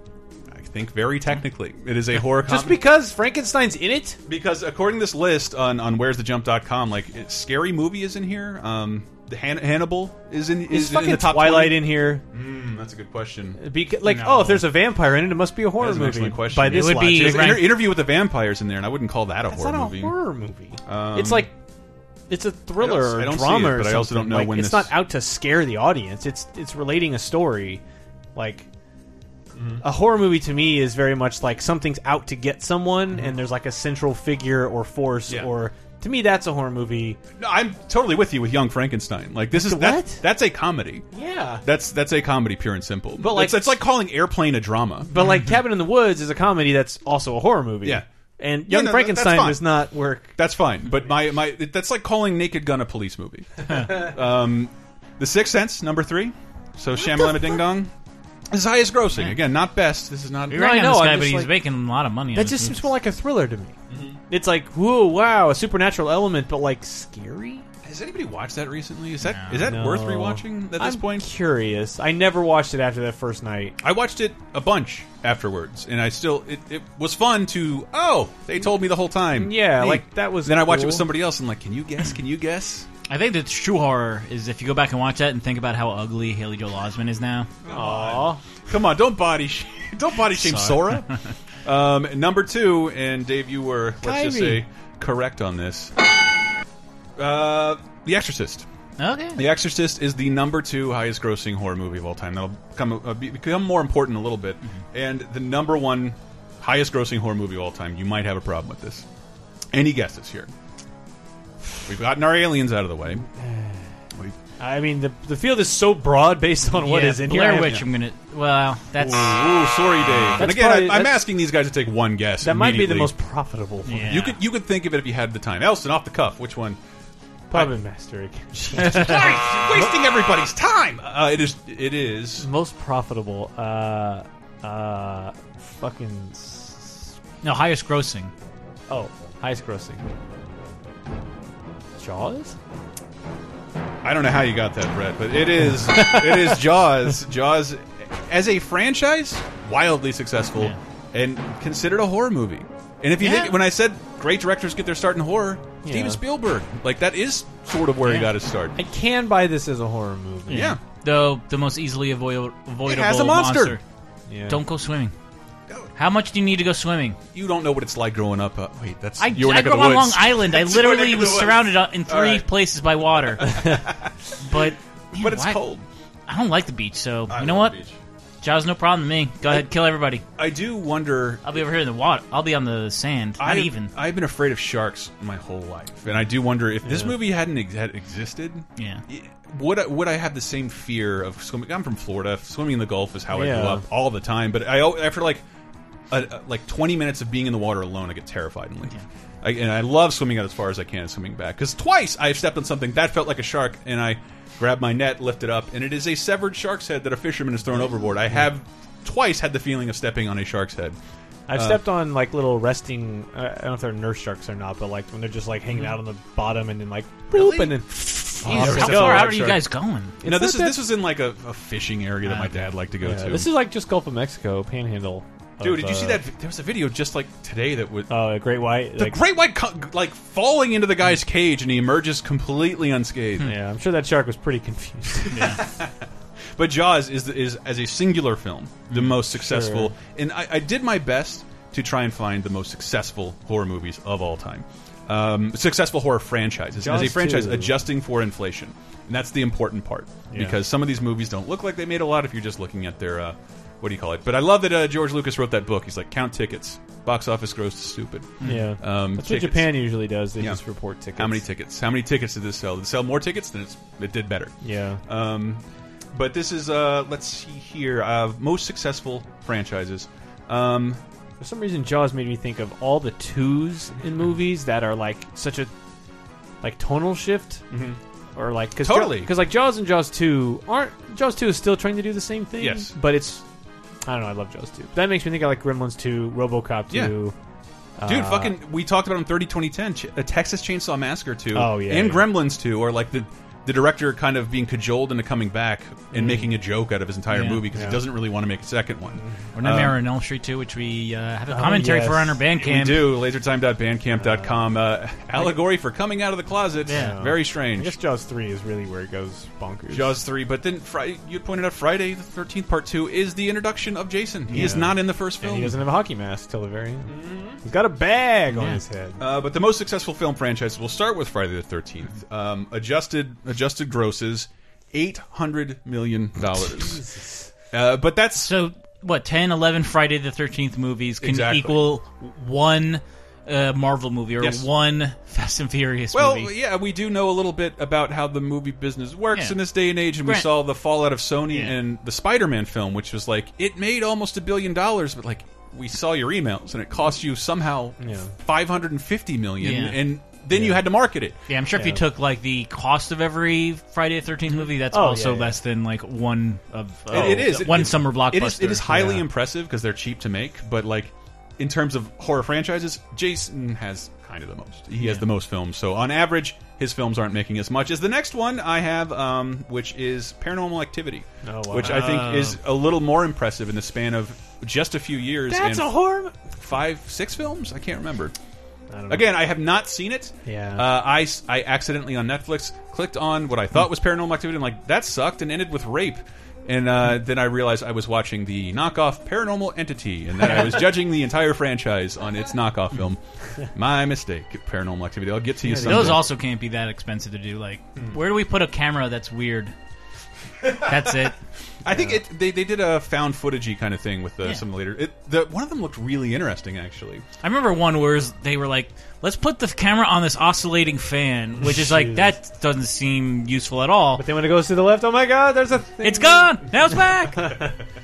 I think very technically, it is a horror.
Just
comedy.
because Frankenstein's in it?
because according to this list on on where's the jump.com like it, scary movie is in here um the Han Hannibal is in
Is,
is, in
fucking
the top
Twilight
20?
in here?
Mm, that's a good question
Beca- like,
No.
oh, if there's a vampire in it, it must be a horror
that's an
movie.
excellent question
By this
It would be-
There's
logic.
an inter-
ranked-
interview with the vampires in there and I wouldn't call that a
It's
horror
not
movie
a horror movie.
Um,
it's like it's a thriller
I
or
don't see
drama,
it,
or
but I also
something.
don't know
Like,
when
it's
this-
not out to scare the audience. It's it's relating a story, like.
Mm-hmm.
A horror movie to me is very much like something's out to get someone, and there's like a central figure or force,
Mm-hmm. Yeah.
or to me that's a horror movie.
No, I'm totally with you with Young Frankenstein like this is that-
What?
that's a comedy
Yeah,
that's that's a comedy pure and simple but
like-
it's, it's like calling airplane a drama
but like Cabin in the Woods is a comedy that's also a horror movie.
Yeah.
and
Yeah,
Young
no, that- that's
Frankenstein
fine.
does not work.
That's fine, but my my that's like calling Naked Gun a police movie. um, the Sixth Sense, number three. So Shamalama Ding Dong. This is highest grossing. Again, not best. This is not.
You're right
I
on this
know, I'm
guy,
just
but he's
like-
making a lot of money. on
That
this
just
Mm-hmm.
movie.
seems more like a thriller to me. It's like, whoa, wow, a supernatural element, but like scary.
Has anybody watched that recently? Is that is that
No.
worth rewatching at this
I'm
point?
curious. I never watched it after that first night.
I watched it a bunch afterwards, and I still it, it was fun to. Oh, they told me the whole time.
Yeah,
Hey.
like that was.
Then I watched it
cool.
with somebody else. and like, can you guess? Can you guess?
I think the true horror is if you go back and watch that and think about how ugly Haley Joel Osment is now.
Aw.
Come on, don't body sh don't body shame Sora. um, number two, and Dave, you were let's just
Kyrie.
say correct on this. Uh, the Exorcist.
Okay.
The Exorcist is the number two highest grossing horror movie of all time. That'll come, uh, be- become more important in a little bit. And the number one highest grossing horror movie of all time. You might have a problem with this. Any guesses here? We've gotten our aliens out of the way.
I mean, the the field is so broad based on what
Yeah,
is in
Blair
here. I
Witch,
have-
I'm gonna. Well, that's.
Ooh, sorry, Dave. and
That's
again,
probably-
I, I'm
that's-
asking these guys to take one guess.
That might be the
immediately.
most profitable one.
Yeah.
You could you could think of it if you had the time. Elston, off the cuff, which one?
Puppet Master again.
Christ, you're wasting everybody's time. Uh, it is. It is.
Most profitable. Uh, uh, fucking. s-
No, highest grossing.
Oh, highest grossing. Jaws.
I don't know how you got that, Brett, but it is. it is Jaws. Jaws, as a franchise, wildly successful
Yeah.
and considered a horror movie. And if you
Yeah.
think when I said great directors get their start in horror, Steven Spielberg, like that is sort of where he
Yeah.
got his start.
I can buy this as a horror movie.
Yeah.
Though the most easily avoid- avoidable
It has a monster.
Yeah.
Don't go swimming. How much do you need to go swimming?
You don't know what it's like growing up. Uh, wait, that's
I,
your
I
neck
grew
of
up
the
on
woods.
Long Island. I
That's your neck
literally
of the
was
woods.
surrounded on- in three
right.
places by water. but
but it's
why-
cold.
I don't like the beach, so
I
you know
love
what?
the beach.
Jaws, no problem to me. Go ahead, kill everybody.
I do wonder
I'll be over here in the water. I'll be on the sand. Not
I,
even.
I've been afraid of sharks my whole life, and I do wonder if this movie hadn't ex- had existed.
Yeah.
i- Would I, would I have the same fear of swimming? I'm from Florida. Swimming in the Gulf is how I grew
Yeah.
up all the time. But I al- after like a, a- like 20 minutes of being in the water alone, I get terrified and leave. I, and I love swimming out as far as I can and swimming back because twice I've stepped on something that felt like a shark, and I grabbed my net, lifted up, and it is a severed shark's head that a fisherman has thrown overboard. I have twice had the feeling of stepping on a shark's head.
I've stepped on like little resting. Uh, I don't know if they're nurse sharks or not, but like when they're just like hanging out on the bottom and then like bloop and then Oh,
Jesus,
I've
how
stepped on
far
a
out
rock
are you
shark.
guys going?
no,
not
this is
that-
this was in like a, a fishing area that my dad liked to go
Yeah,
to.
this is like just Gulf of Mexico panhandle. of,
Dude, did you see
uh,
that? vi- There was a video just like today that was
Oh, a great white.
the
like-
great white co- like falling into the guy's cage and he emerges completely unscathed.
Yeah, I'm sure that shark was pretty confused.
But Jaws is is as a singular film the most successful,
Mm-hmm. Sure.
and I, I did my best to try and find the most successful horror movies of all time, um, successful horror franchises as a
Jaws
franchise
2.
adjusting for inflation, and that's the important part because some of these movies don't look like they made a lot if you're just looking at their. Uh, what do you call it? But I love that uh, George Lucas wrote that book. He's like, count tickets. Box office gross is stupid.
yeah,
Um,
that's
tickets.
what Japan usually does. They
Yeah.
just report tickets.
How many tickets? How many tickets did this sell? Did it sell more tickets? Then it's, it did better.
Yeah,
Um, But this is, uh, let's see here, uh, most successful franchises. Um,
For some reason, Jaws made me think of all the twos in movies that are like such a like tonal shift, mm-hmm. or like cause
Totally.
because like Jaws and Jaws two aren't Jaws two is still trying to do the same thing.
Yes.
but it's I don't know. I love Jaws two. That makes me think of like Gremlins two, RoboCop
Yeah.
two.
dude,
Uh,
fucking, we talked about in 30 2010, Ch a Texas Chainsaw Massacre 2
Oh, yeah,
and
yeah.
Gremlins 2 are like the. The director kind of being cajoled into coming back and making a joke out of his entire
Yeah.
movie because
Mm-hmm. Yeah.
he
Mm-hmm.
doesn't really want to make a second one.
Or Nightmare on Elm Street 2, which we uh, have a commentary
yes.
for on our
Um, oh, We
Bandcamp.
do. Lasertime.bandcamp.com. Uh, allegory for coming out of the closet.
Yeah.
Very
I
strange.
guess Jaws three is really where it goes bonkers.
Jaws 3, but then Fri you pointed out Friday the 13th, part 2 is the introduction of Jason. He is
Yeah.
not in the first
and
film.
he doesn't have a hockey mask till the very end. He's got a bag on
Yeah.
his head.
Mm-hmm. Uh, but the most successful film franchise will start with Friday the Thirteenth. Um, adjusted adjusted grosses eight hundred million dollars. uh, but that's
So, what, 10, 11 Friday the 13th movies can
Exactly.
equal one uh, Marvel movie or
Yes.
one Fast and Furious
well,
movie.
yeah. We do know a little bit about how the movie business works
Yeah.
in this day and age, and we
Right.
saw the fallout of Sony
Yeah.
and the Spider-Man film, which was like it made almost a billion dollars, but like we saw your emails, and it cost you somehow
Yeah.
five hundred and fifty million,
Yeah.
and then you had to market it.
Yeah, I'm sure if you
Yeah.
took like the cost of every Friday the
Mm-hmm.
13th movie, that's
Oh,
also
yeah, yeah.
less than like one of uh,
It- it is
one
It-
summer blockbuster.
It is, it is highly
yeah.
impressive because they're cheap to make, but like in terms of horror franchises, Jason has kind of the most. He has the most films, so on average, his films aren't making as much as the next one I have, um, which is Paranormal Activity,
Oh, wow.
which I think is a little more impressive in the span of just a few years.
That's
and
a horror.
five, six films. I can't remember.
I don't know.
Again, I have not seen it.
Yeah.
Uh, I, s- I accidentally on Netflix clicked on what I thought was Paranormal Activity. and like, that sucked, and ended with rape. And uh, then I realized I was watching the knockoff Paranormal Entity, and that I was judging the entire franchise on its knockoff film. My mistake, Paranormal Activity. I'll get to you someday.
Those also can't be that expensive to do. Like, where do we put a camera that's weird? That's it.
I think it, they, they did a found footagey kind of thing with the,
Yeah.
some later. It, the, one of them looked really interesting, actually.
I remember one where they were like, "Let's put the camera on this oscillating fan," which is like that doesn't seem useful at all.
But then when it goes to the left, oh my god, there's a thing.
It's gone. Now it's back.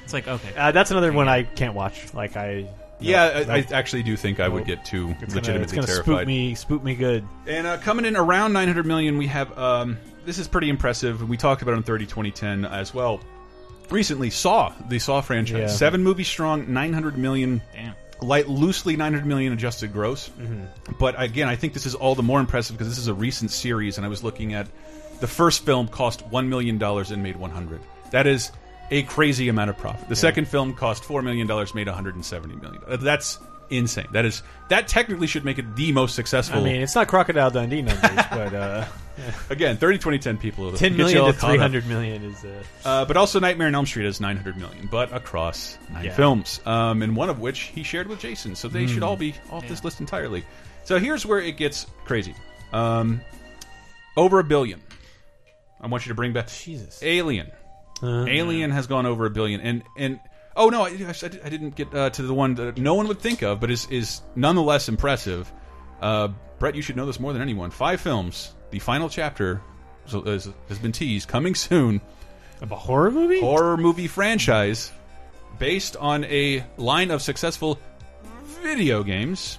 it's like okay.
Uh, that's another one I can't watch. Like I,
yeah,
no,
I, I
it's
actually do think I would get too
gonna-
legitimately
it's gonna
terrified.
spook me, spook me good.
And uh, coming in around 900 million, we have um, this is pretty impressive. We talked about it in 30 2010 as well. Recently, Saw the Saw franchise,
Yeah.
seven movies strong, 900 million.
Damn.
Light loosely 900 million adjusted gross,
Mm-hmm.
but again, I think this is all the more impressive because this is a recent series, and I was looking at the first film cost one million dollars and made 100. That is a crazy amount of profit. The second film cost four million dollars, made 170 million. Uh, That's insane. That is that technically should make it the most successful
I mean, it's not Crocodile Dundee numbers, but uh,
Again, 30, 20, 10 people. it'll
ten
get you
million
all
to
caught
three
up.
hundred million is. Uh,
Uh, but also Nightmare on Elm Street is 900 million, but across nine
Yeah. Hmm.
films. Um, and one of which he shared with Jason. So they should all be off this list entirely. So here's where it gets crazy. Um, over a billion. I want you to bring back
Jesus. Uh,
Alien. Alien has gone over a billion, and and oh no, I, I did- I didn't get uh, to the one that no one would think of, but is is nonetheless impressive. Uh, Brett, you should know this more than anyone. Five films. The final chapter so- is, has been teased, coming soon.
Of a horror movie?
Horror movie franchise based on a line of successful video games.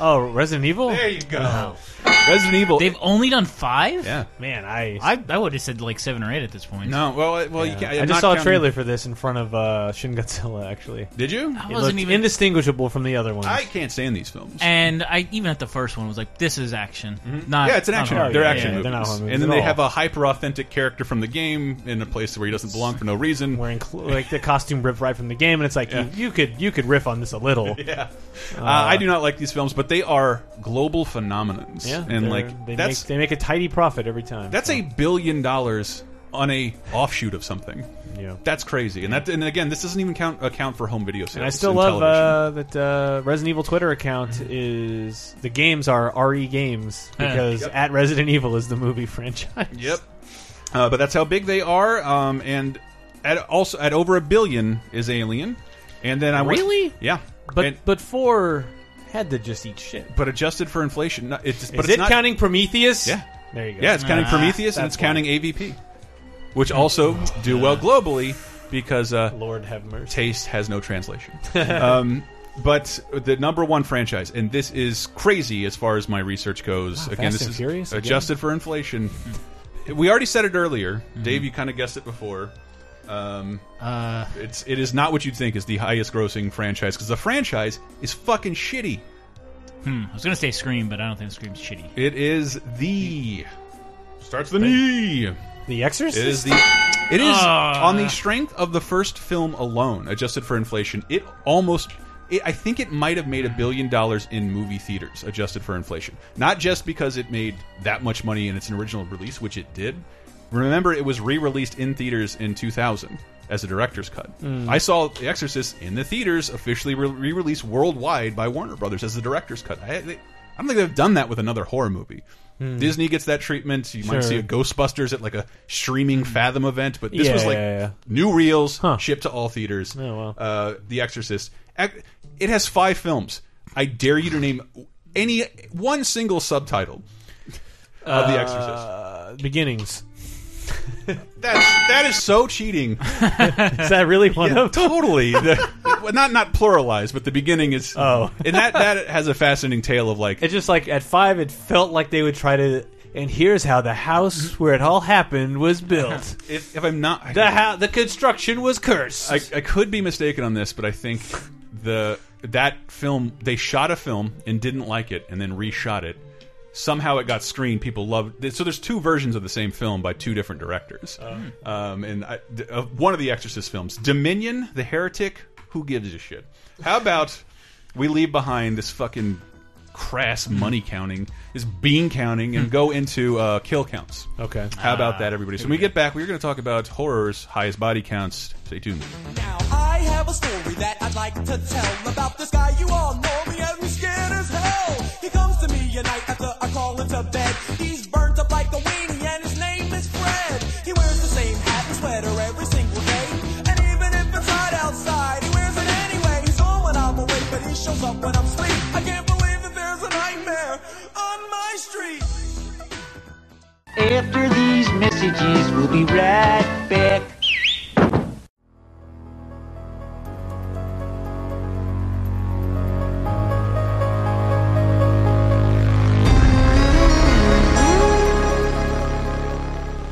Oh, Resident Evil.
you go. Resident Evil.
They've only done five.
yeah.
Man, I
I, I would have said like seven or eight at this point.
No. Well. I- Well. You
yeah.
can't,
I
I'm
just
not
saw a
counting-
trailer for this in front of uh, Shin Godzilla. Actually,
Did you?
I
it
wasn't
looked
even.
indistinguishable from the other one.
I can't stand these films.
and I even at the first one was like, "This is action, not
Mm-hmm.
Oh,
Yeah, it's an
not
action.
horror.
They're
yeah,
action
yeah,
movies,
they're not horror movies
and then
at
they
all.
have a hyper authentic character from the game in a place where he doesn't belong for no reason.
Wearing cl- like the costume ripped right from the game, and it's like
Yeah.
you, you could you could riff on this a little.
Yeah, uh, I do not like these films, but they are global phenomenons. and
they're-
like
they
that's
make, they make a tidy profit every time.
that's a billion dollars on a offshoot of something.
yeah.
That's crazy, and that and again, this doesn't even count account for home video sales.
And I still love uh, that uh, Resident Evil Twitter account is the games are RE games
Yeah.
because at Resident Evil is the movie franchise.
Yep. Uh, but that's how big they are, um, and at also at over a billion is Alien, and then I wa-
Really?
yeah,
But
And-
but four had to just eat shit.
but adjusted for inflation, no, it's, but
is
it's
it
not,
counting Prometheus?
Yeah.
there you go.
Yeah, it's counting
Ah,
Prometheus and it's
that's
counting AVP. which also do well globally because uh,
Lord have mercy.
taste has no translation. um, but the number one franchise, and this is crazy as far as my research goes. again,
Fast
this
and
is
Furious again? Hmm.
adjusted for inflation. we already said it earlier,
Mm-hmm.
Dave. You kind of guessed it before. Um,
Uh.
it's it is not what you'd think is the highest grossing franchise because the franchise is fucking shitty.
I was gonna say Scream, but I don't think Scream's shitty.
It is the starts the knee.
The Exorcist.
It is the. It is
Ah.
on the strength of the first film alone, adjusted for inflation. It almost. It, I think it might have made a billion dollars in movie theaters, adjusted for inflation. Not just because it made that much money in its original release, which it did. Remember, it was re-released in theaters in 2000 as a director's cut. I saw The Exorcist in the theaters, officially re- re-released worldwide by Warner Brothers as the director's cut. I, they, I don't think they've done that with another horror movie. Disney gets that treatment. You might
Sure.
see a Ghostbusters at like a streaming Fathom event, but this
Yeah,
was like
yeah, yeah.
new reels
Huh.
shipped to all theaters.
Oh, wow.
uh, the Exorcist. Ac- It has five films. I dare you to name any one single subtitle of The Exorcist.
Uh, beginnings.
That's that is so cheating.
Is that really one of? them?
totally. The- well, not not pluralized, but the beginning is.
Oh.
and that that has a fascinating tale of like
It's just like at five, it felt like they would try to. And here's how the
Mm-hmm.
house where it all happened was built.
if, if I'm not
the how the construction was cursed.
I, I could be mistaken on this, but I think the that film they shot a film and didn't like it and then reshot it. Somehow it got screened. People loved it. So there's two versions of the same film by two different directors. Um, and I, th- uh, one of the Exorcist films, Dominion, The Heretic. Who gives a shit? How about we leave behind this fucking crass money counting, this bean counting, and go into uh, kill counts?
okay.
How about that, everybody? So when we get back, we're going to talk about horrors, highest body counts. Stay tuned.
Now I have a story that I'd like to tell about this guy you all know me and he's scared as hell. He comes to me at night after I call him to bed. He's burnt up like a weenie and his name is Fred. He wears the same hat and sweater every single day. And even if it's hot outside, he wears it anyway. He's on when I'm awake, but he shows up when I'm asleep. I can't believe that there's a nightmare on my street.
After these messages, we'll be right back.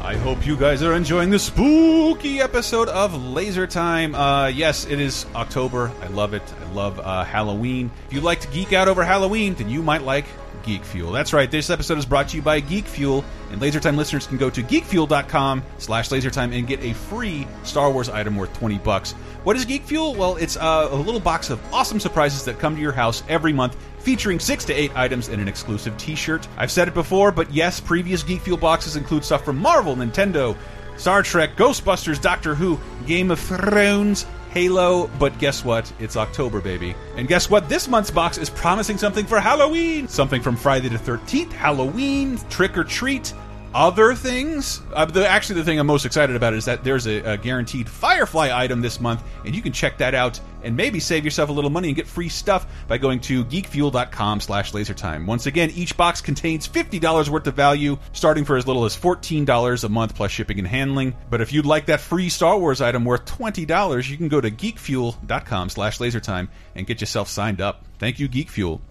I hope you guys are enjoying the spooky episode of Laser Time. Uh, yes, it is October. I love it. I love uh, Halloween. If you like to geek out over Halloween, then you might like Geek Fuel. That's right. This episode is brought to you by Geek Fuel, and Laser Time listeners can go to geekfuel.com slash lasertime and get a free Star Wars item worth 20 bucks. What is Geek Fuel? Well, it's uh, a little box of awesome surprises that come to your house every month featuring six to eight items and an exclusive T-shirt. I've said it before, but yes, previous Geek Fuel boxes include stuff from Marvel, Nintendo, Star Trek, Ghostbusters, Doctor Who, Game of Thrones, Halo. But guess what? It's October, baby, and guess what? This month's box is promising something for Halloween, something from Friday the Thirteenth, Halloween, Trick or Treat. Other things. Uh, the, actually, the thing I'm most excited about is that there's a, a guaranteed Firefly item this month, and you can check that out and maybe save yourself a little money and get free stuff by going to geekfuel.com slash lasertime. Once again, each box contains $50 worth of value, starting for as little as $14 a month plus shipping and handling. But if you'd like that free Star Wars item worth $20, you can go to geekfuel.com slash lasertime and get yourself signed up. Thank you, Geek Fuel.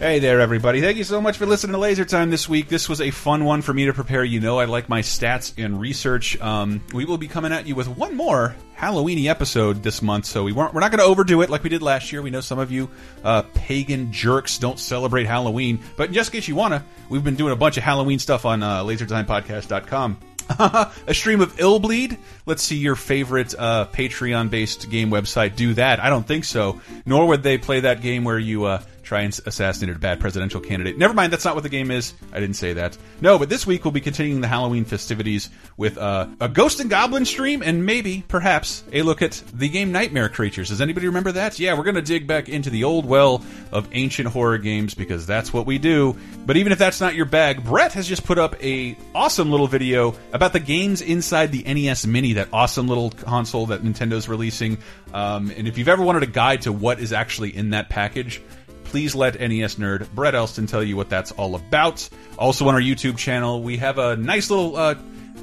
Hey there, everybody. Thank you so much for listening to Laser Time this week. This was a fun one for me to prepare. You know, I like my stats and research. Um, we will be coming at you with one more Halloweeny episode this month, so we weren't, we're not going to overdo it like we did last year. We know some of you uh, pagan jerks don't celebrate Halloween, but just in case you want to, we've been doing a bunch of Halloween stuff on uh, lasertimepodcast.com. a stream of ill bleed. Let's see your favorite uh, Patreon based game website do that. I don't think so. Nor would they play that game where you uh, try and assassinate a bad presidential candidate. Never mind, that's not what the game is. I didn't say that. No, but this week we'll be continuing the Halloween festivities with uh, a Ghost and Goblin stream and maybe, perhaps, a look at the game Nightmare Creatures. Does anybody remember that? Yeah, we're going to dig back into the old well of ancient horror games because that's what we do. But even if that's not your bag, Brett has just put up a awesome little video about the games inside the NES Mini, that awesome little console that Nintendo's releasing. Um, and if you've ever wanted a guide to what is actually in that package, please let NES nerd Brett Elston tell you what that's all about. Also on our YouTube channel, we have a nice little, uh,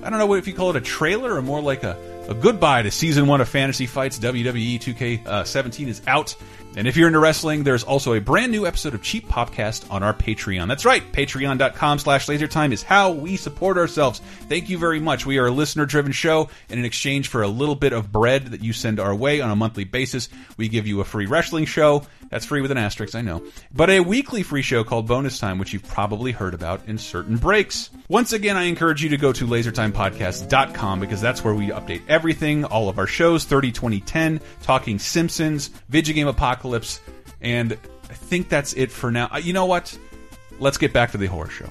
I don't know if you call it a trailer or more like a, a goodbye to season one of Fantasy Fights. E WWE 2K17 uh, is out. And if you're into wrestling, there's also a brand new episode of Cheap Popcast on our Patreon. That's right, patreon.com slash lasertime is how we support ourselves. Thank you very much. We are a listener-driven show, and in exchange for a little bit of bread that you send our way on a monthly basis, we give you a free wrestling show. That's free with an asterisk, I know. But a weekly free show called Bonus Time, which you've probably heard about in certain breaks. Once again, I encourage you to go to lasertimepodcast.com because that's where we update everything, all of our shows, 30, 20, 10, Talking Simpsons, Video Game Apocalypse, and I think that's it for now. Uh, You know what? Let's get back to the horror show.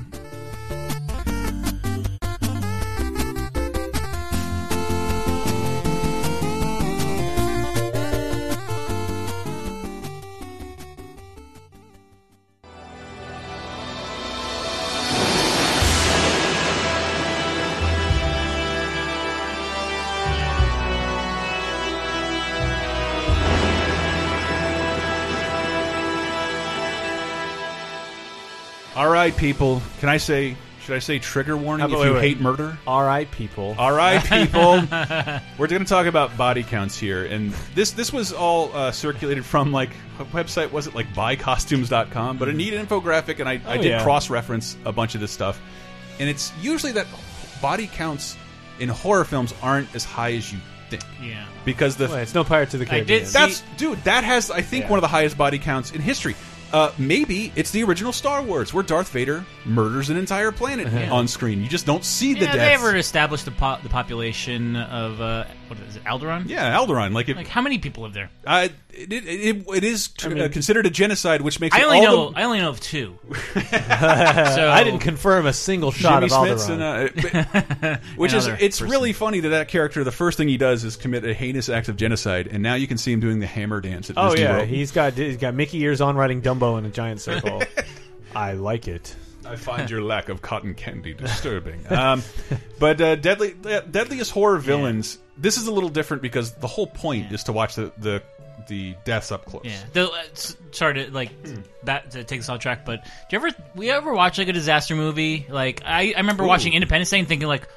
All right, people. Can I say, should I say trigger warning
Uh,
if
but
you
wait, wait.
hate murder?
All right, people.
All right, people. We're going to talk about body counts here, and this this was all uh, circulated from like what website was it like buycostumes.com, but a neat infographic, and I, I
Oh,
did
yeah.
cross reference a bunch of this stuff, and it's usually that body counts in horror films aren't as high as you think
Yeah.
because the
Well, it's no Pirates of the
I
Caribbean.
did see-
that's dude. That has I think
Yeah.
one of the highest body counts in history. Uh, maybe it's the original Star Wars where Darth Vader murders an entire planet on screen. You just don't see the
Uh-huh. yeah,
deaths.
they ever established the, po- the population of uh, what is it, Alderaan?
yeah, Alderaan. Like, if,
Like how many people live there?
Uh, it, it, it, it is t- uh, considered a genocide, which makes
I
it
only
all
know
the,
I only know of two. so
I didn't confirm a single shot
Jimmy
of Alderaan.
Smith's and, uh, but- which is
Another
it's
person.
really funny that that character the first thing he does is commit a heinous act of genocide, and now you can see him doing the hammer dance at
oh
Disney
yeah,
World.
he's got he's got Mickey ears on riding Dumbo in a giant circle. I like it.
I find your lack of cotton candy disturbing. um, but uh, deadly, uh, deadliest horror villains. This is a little different because the whole point is to watch the the, the deaths up close.
Yeah. The, uh, s- sorry to like
Hmm.
that to take us off track, but do you ever we ever watch like a disaster movie? Like I, I remember watching Independence Day and thinking like,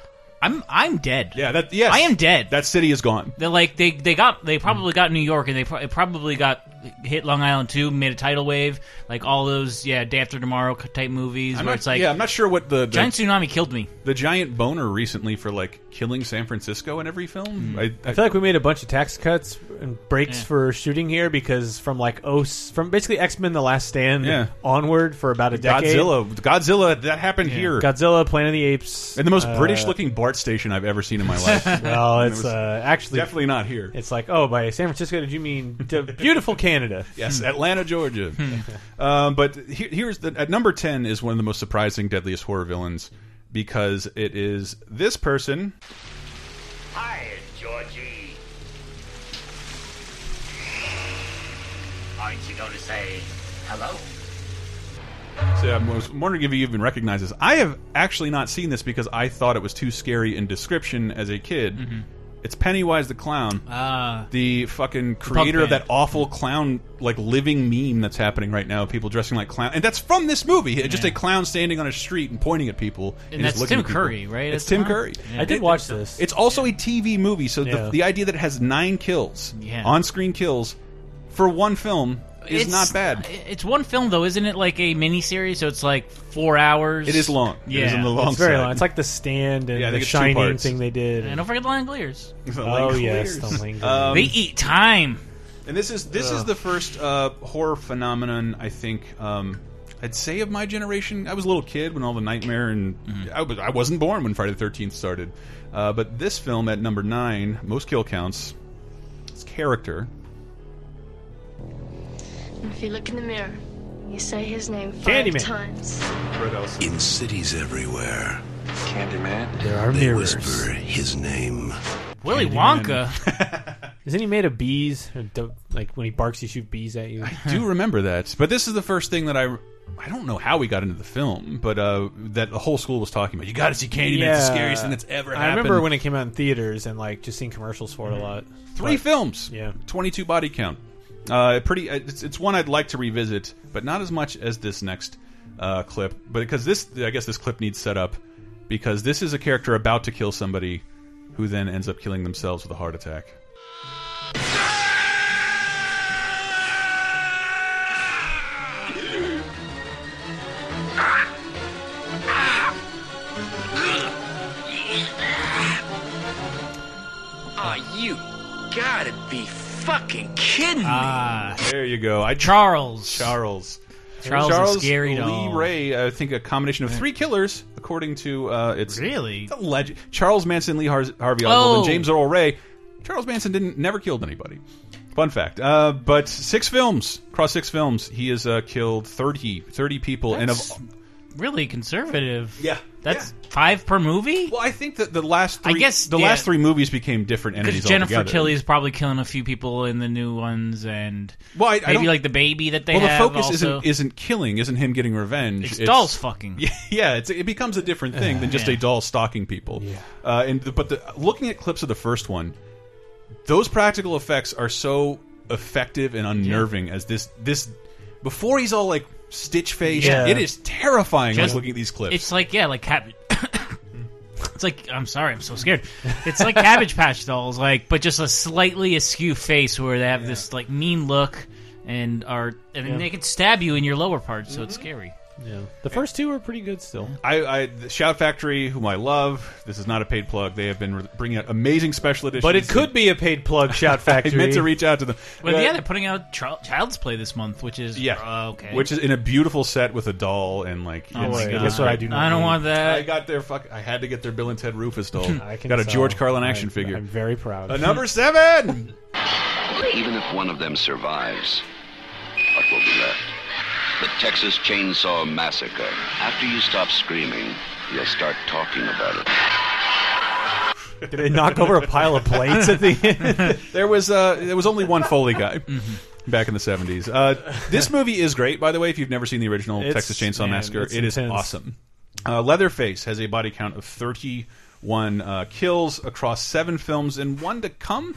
I'm I'm dead.
Yeah, that yes,
I am dead.
That Hmm. city is gone.
They're like they they got they probably got New York and they pro- probably got hit Long Island too, made a tidal wave, like all those yeah Day After Tomorrow type movies
I'm
where
not,
it's like
yeah, I'm not sure what the, the
giant tsunami killed me.
the giant boner recently for like killing San Francisco in every film. I,
Hmm. I feel like we made a bunch of tax cuts and breaks
Yeah.
for shooting here because from like Os from basically X Men: The Last Stand
Yeah.
onward for about a decade.
Godzilla, Godzilla, that happened here.
Godzilla, Planet of the Apes,
and the most
uh,
British-looking BART station I've ever seen in my life.
Well,
was
it's uh, actually
Definitely not here.
It's like oh, by San Francisco, did you mean d- beautiful Canada?
Yes, Atlanta, Georgia. um, but here, here's the at number ten is one of the most surprising, deadliest horror villains because it is this person.
Hi, it's Georgie. Aren't you going to say hello?
So I was wondering if you even recognize this. I have actually not seen this because I thought it was too scary in description as a kid. It's Pennywise the clown.
Mm-hmm. Ah,
the fucking creator of
band.
that awful clown like living meme that's happening right now people dressing like clown and that's from this movie just a clown standing on a street and pointing at people and,
And
just
that's
looking
Tim
at people.
Curry, right?
it's
That's
tim
the clown?
curry
Yeah.
I did
It-
watch this.
it's also a tv movie so
Yeah.
the, the idea that it has nine kills
Yeah.
on-screen kills for one film is
It's-
not bad
It's one film though, isn't it? Like a miniseries, so it's like four hours.
it is long it
Yeah,
is on the long
It's very
side.
long. It's like the stand and
Yeah, I think
the
it's two
shining
parts.
thing they did.
And don't forget the Langoliers.
The
oh
Langoliers.
yes, the Langoliers.
Um,
they eat time.
And this is this is the first uh, horror phenomenon I think um, I'd say of my generation. I was a little kid when all the nightmare and
Mm-hmm.
I was I wasn't born when Friday the Thirteenth started. Uh, but this film at number nine, most kill counts, its character.
If you look in the mirror, You say his name five
Candyman.
times.
Fred Elson.
In cities everywhere,
Candyman.
There are
they
mirrors.
whisper his name.
Willy Wonka.
Isn't he made of bees? Or do- Like when he barks, you shoot bees at you.
I do remember that. But this is the first thing that I. I don't know how we got into the film, but uh, that the whole school was talking about. You got to see Candyman. It's the scariest thing that's ever
I
happened.
remember when it came out in theaters and like just seeing commercials for it a lot.
three films.
yeah.
twenty-two body count. Uh, pretty. It's, it's one I'd like to revisit, but not as much as this next uh, clip. But because this, I guess this clip needs set up because this is a character about to kill somebody, who then ends up killing themselves with a heart attack.
Are you gotta be fucking kidding me?
There you go. I
Charles.
Charles.
Charles the Scary
Lee
Doll.
Ray, I think a combination of three killers, according to uh, its
Really?
it's a legend. Charles Manson, Lee Har Harvey Oswald, and
Oh.
James Earl Ray. Charles Manson didn't never killed anybody. Fun fact. Uh, but six films across six films, he has uh, killed 30, 30 people,
That's-
and of
Really conservative.
yeah,
That's five per movie?
Well, I think that the last
I
three,
guess,
the
yeah.
last three movies became different
Because
entities.
Jennifer
altogether.
Tilly's probably killing a few people in the new ones, and
Well, I, I
maybe
don't-
like the baby that they
well, the
have.
focus
also.
isn't isn't killing, isn't him getting revenge.
it's, dolls fucking.
Yeah, yeah it's, it becomes a different thing than just
Uh,
Yeah.
a doll stalking people. Yeah. Uh, and the, but the, looking at clips of the first one, those practical effects are so effective and unnerving as this this before he's all like stitch faced.
Yeah.
It is terrifying
Just-
just looking at these clips.
It's like yeah, like cab- It's like I'm sorry, I'm so scared. It's like Cabbage Patch Dolls, like but just a slightly askew face where they have this like mean look and are and they can stab you in your lower part, so
Mm-hmm.
it's scary.
Yeah, the first two are pretty good still.
I, I the Shout Factory, whom I love. This is not a paid plug. They have been re- bringing out amazing special editions.
But it could be a paid plug. Shout Factory.
I meant to reach out to them.
But
Uh,
yeah, they're putting out Chil- Child's Play this month, which is
yeah,
uh, okay.
which is in a beautiful set with a doll and like
Oh
it's-
my
it's
God.
Guess what I do not
I don't
need.
want
I
that.
got their fuck. I had to get their Bill and Ted Rufus doll.
I can
got a
tell.
George Carlin action
I'm-
figure.
I'm very proud.
Uh, number seven.
Even if one of them survives, what will be left? The Texas Chainsaw Massacre. After you stop screaming, you'll start talking about it.
Did they knock over a pile of plates at the end?
There was uh, there was only one Foley guy.
Mm-hmm.
Back in the seventies, uh, this movie is great. By the way, if you've never seen the original
It's-
Texas Chainsaw
man,
Massacre,
it's
it is
intense.
awesome. Uh, Leatherface has a body count of thirty-one uh, kills across seven films and one to come.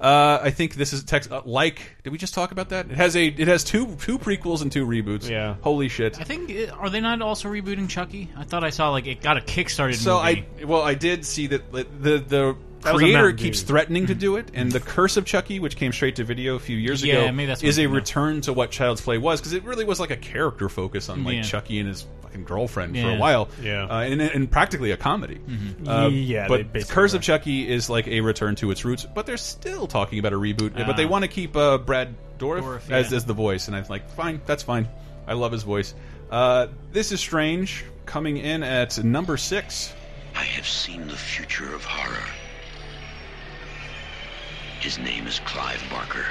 Uh, I think this is Tex uh, like. Did we just talk about that? It has a it has two two prequels and two reboots.
Yeah.
holy shit!
I think uh, are they not also rebooting Chucky? I thought I saw like it got a kickstarted.
So
movie.
I well I did see that the the, the
was a
creator
Mountain
keeps
Dew.
threatening to do it, and the Curse of Chucky, which came straight to video a few years
Yeah,
ago,
maybe that's what
is
it
a
is now.
return to what Child's Play was because it really was like a character focus on like
Yeah.
Chucky and his fucking girlfriend for
Yeah. Mm-hmm.
a while,
Yeah.
uh, and, and practically a comedy. Uh,
Yeah, they
but
basically
Curse
were.
of Chucky is like a return to its roots, but they're still talking about a reboot, but
Ah.
they want to keep uh, Brad Dorff,
Dorff,
as
yeah.
as the voice, and I'm like, fine, that's fine. I love his voice. Uh, this is strange. Coming in at number six.
I have seen the future of horror. His name is Clive Barker.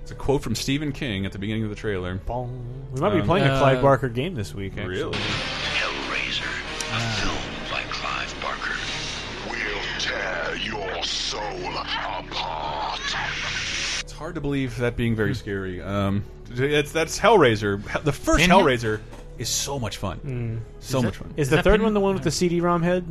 It's a quote from Stephen King at the beginning of the trailer.
Bong. we might be playing a Clive
Uh,
Barker game this week. Actually.
Um, Really?
Hellraiser, a film by Clive Barker. We'll tear your soul apart.
It's hard to believe that being very scary. Um, it's that's Hellraiser. Hel- The first
Pinhead?
Hellraiser is so much fun. So much fun.
Hmm. Is, the
that
third
been-
one the one with the CD-ROM head?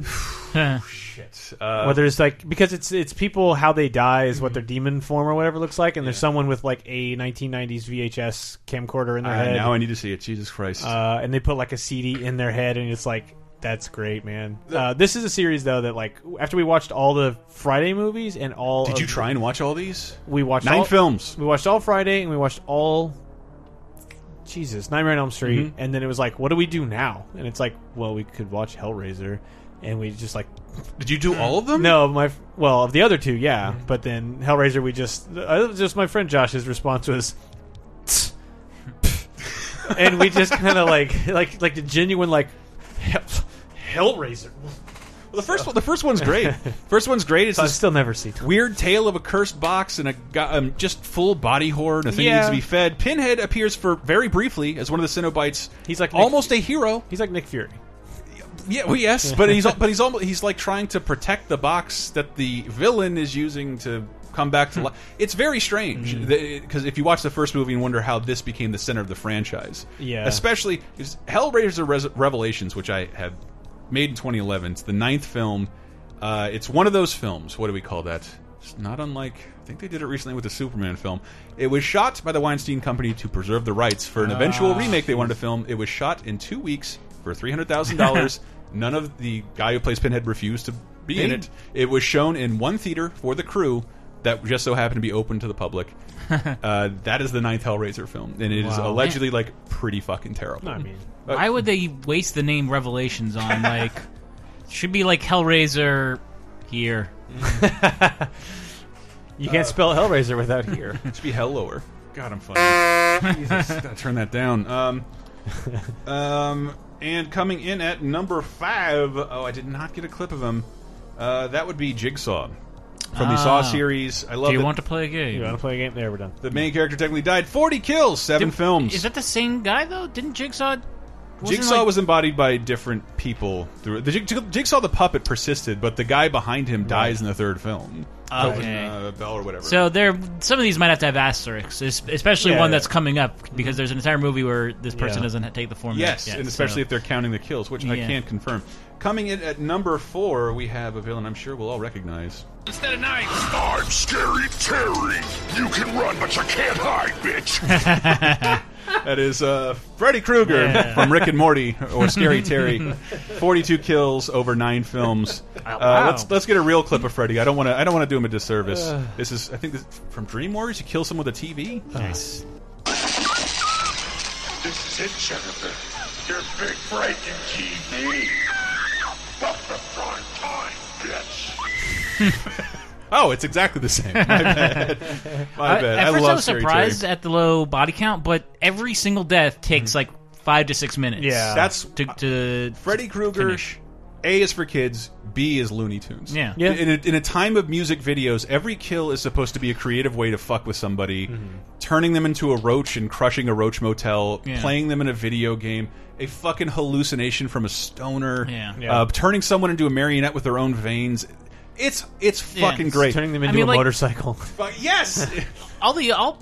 Shit. Uh,
Whether it's like because it's it's people how they die is
Mm-hmm.
what their demon form or whatever looks like, and there's someone with like a 1990s VHS camcorder in their
I-
head.
now I need to see it. Jesus Christ.
uh, and they put like a CD in their head, and it's like that's great, man. Uh, this is a series though that like after we watched all the Friday movies and all
Did
of-
you try and watch all these?
We watched
Nine
uh, all,
films.
We watched all Friday, and we watched all Jesus Nightmare on Elm Street,
Mm-hmm.
and then it was like, what do we do now? And it's like, well, we could watch Hellraiser, and we just like
Did you do all of them?
no, my well of the other two, yeah. But then Hellraiser, we just uh, just my friend Josh's response was, "Tsk, pff." and we just kind of like like like the genuine like Hell, Hellraiser.
the first one, the first one's great. First one's great. It's
I
this
still never see.
weird tale of a cursed box and a go- um, just full body horror and a thing that needs
Yeah.
to be fed. Pinhead appears for very briefly as one of the Cenobites.
He's like Nick-
almost a hero.
He's like Nick Fury.
Yeah, well, yes, but he's al- but he's almost he's like trying to protect the box that the villain is using to come back
Hmm.
to life. It's very strange because if you watch the first movie and wonder how this became the center of the franchise,
Yeah.
especially is Hellraiser Res- Revelations, which I have made in 2011. It's the ninth film. Uh, it's one of those films. What do we call that? It's not unlike. I think they did it recently with the Superman film. It was shot by the Weinstein Company to preserve the rights for an eventual remake they wanted to film. It was shot in two weeks for three hundred thousand dollars. None of the guy who plays Pinhead refused to be in it. It was shown in one theater for the crew that just so happened to be open to the public. uh, that is the ninth Hellraiser film, and it is allegedly like pretty fucking terrible.
I mean,
Why would they waste the name Revelations on like? should be like Hellraiser here.
you can't spell Hellraiser without here.
It should be hell lower. God, I'm funny. Jesus, gotta turn that down. Um, um, and coming in at number five, oh, I did not get a clip of him. Uh, that would be Jigsaw from the Saw
Ah.
series. I love
Do you
that
want to play a game?
you want to play a game? There, we're done.
the main character technically died. Forty kills, seven
Did-
films.
Is that the same guy though? Didn't Jigsaw? wasn't,
Jigsaw
like-
was embodied by different people. Through the Jig- Jigsaw, the puppet persisted, but the guy behind him dies in the third film.
Oh, Okay.
uh, Bell or whatever.
So there, some of these might have to have asterisks, es- especially
Yeah,
one
yeah.
that's coming up because there's an entire movie where this person
Yeah.
doesn't ha- take the form.
Yes,
yet,
and especially if
so.
they're counting the kills, which I
Yeah.
can't confirm. Coming in at number four, we have a villain I'm sure we'll all recognize.
Instead of knives.
I'm Scary Terry. You can run, but you can't hide, bitch.
That is uh, Freddy Krueger
Yeah.
from Rick and Morty or Scary Terry. Forty-two kills over nine films. Uh, let's let's get a real clip of Freddy. I don't want to I don't want to do him a disservice.
Uh.
this is I think this, from Dream Warriors. You kill someone with a TV.
nice.
This is it, Jennifer. Your big break in TV. Fuck the prime time, bitch.
Oh, it's exactly the same. My bad. My
I,
bad.
at
I
first,
love
I was
Scary
surprised
Terry.
at the low body count, but every single death takes
Mm-hmm.
like five to six minutes.
Yeah.
That's
uh, to, to
Freddy Krueger.
Finish.
A is for kids. B is Looney Tunes.
Yeah.
Yeah.
In, a, in a time of music videos, every kill is supposed to be a creative way to fuck with somebody,
Mm-hmm.
turning them into a roach and crushing a roach motel,
Yeah.
playing them in a video game, a fucking hallucination from a stoner,
Yeah.
Yeah.
Uh, turning someone into a marionette with their own veins. It's it's
Yeah.
fucking great.
Turning them
I
into
mean,
a
like-
motorcycle.
But yes,
all the all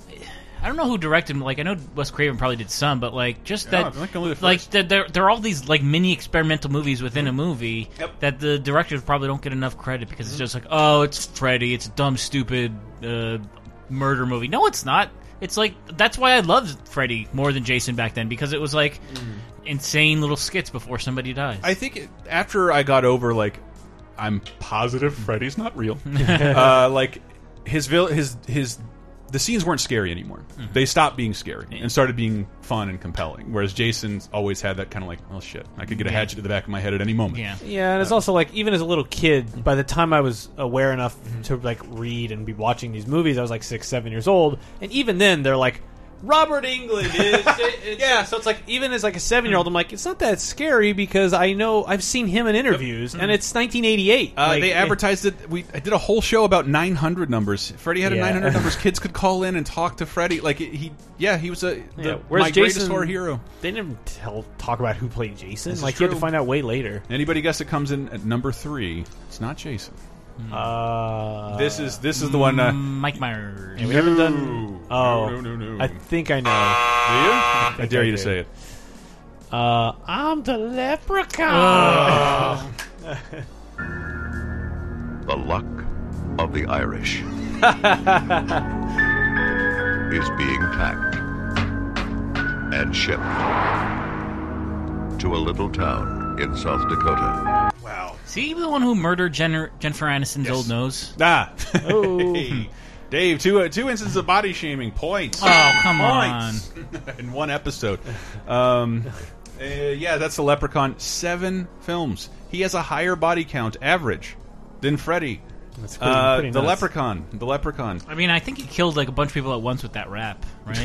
I don't know who directed. Like I know Wes Craven probably did some, but like just
Yeah,
that,
I like only the
like
first.
there- there there are all these like mini experimental movies within a movie
Yep. Mm-hmm.
that the directors probably don't get enough credit because it's just like oh it's Freddy, it's a dumb stupid uh, murder movie. No, it's not. It's like that's why I loved Freddy more than Jason back then because it was like insane little skits before somebody dies.
Mm. I think it, after I got over like I'm positive Freddy's not real. uh, like his vil his his the scenes weren't scary anymore. They stopped being scary and started being fun and compelling. Whereas Jason's always had that kind of like, oh shit, I could get a
Yeah.
hatchet to the back of my head at any moment.
yeah.
Yeah, and it's also like even as a little kid, by the time I was aware enough to like read and be watching these movies, I was like six, seven years old, and even then they're like Robert England is yeah. So it's like even as like a seven year old, I'm like it's not that scary because I know I've seen him in interviews, and it's 1988.
Uh,
Like,
they advertised it. We I did a whole show about 900 numbers. Freddie had a
Yeah.
900 numbers. Kids could call in and talk to Freddie. Like he, yeah, he was a the,
Yeah, where's
my greatest
Jason?
horror hero.
They didn't tell talk about who played Jason.
is
like you had
true.
to find out way later.
Anybody guess it comes in at number three? It's not Jason.
Uh,
This is this is the one. Uh,
Mike Myers.
we haven't
No.
done. Oh,
No, no, no, no.
I think I
Do
know.
you? I,
think
dare
I
you to
do.
say it.
Uh, I'm the leprechaun.
The luck of the Irish is being packed and shipped to a little town in South Dakota.
See, the one who murdered Jenner, Jennifer Aniston's old nose.
Ah. Hey. Dave, two uh, two instances of body shaming points.
Oh, come on.
points in one episode. Um, uh, yeah, that's the Leprechaun. Seven films. He has a higher body count average than Freddy.
That's pretty-
Uh,
pretty
the
nuts.
Leprechaun. The Leprechaun.
I mean, I think he killed like a bunch of people at once with that rap, right?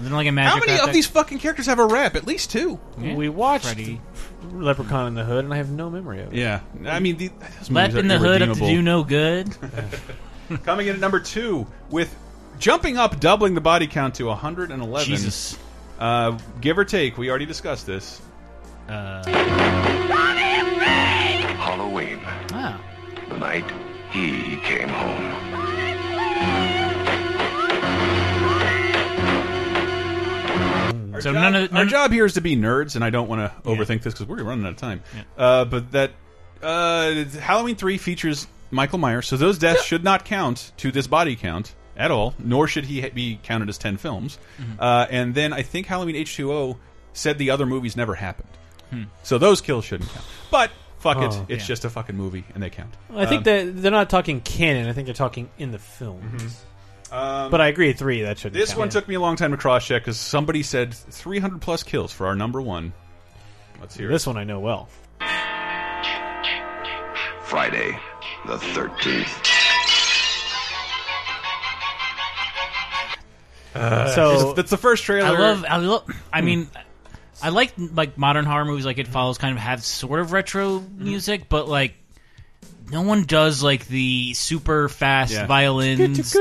Isn't it like a magic
How many
rap
of
that-
these fucking characters have a rap? At least two.
Yeah.
We watched
Freddy.
Leprechaun in the Hood, and I have no memory of it.
Yeah, I mean, the, those
Left
movies are
in the hood up to
irredeemable.
do no good.
Coming in at number two with jumping up, doubling the body count to 111.
Jesus.
Uh, give or take, we already discussed this.
Halloween,
Wow.
the night he came home.
Our,
So
job,
none of-
our
none-
job here is to be nerds, and I don't want to overthink this because we're running out of time. Uh, but that uh, Halloween three features Michael Myers, so those deaths should not count to this body count at all, nor should he ha be counted as ten films. Uh, and then I think Halloween H two O said the other movies never happened, so those kills shouldn't count. But fuck it,
Oh.
it's just a fucking movie, and they count.
I think that they're not talking canon. I think they're talking in the films. Mm-hmm. but I agree, three that should.
Um, This one took me a long time to cross check because somebody said 300 plus kills for our number one. Let's hear
This one I know well.
Friday, the 13th.
it.
so
That's the first trailer.
I love. I love. I mean, I like like modern horror movies. Like it follows kind of have sort of retro
Mm-hmm.
music, but like no one does like the super fast
Yeah.
violins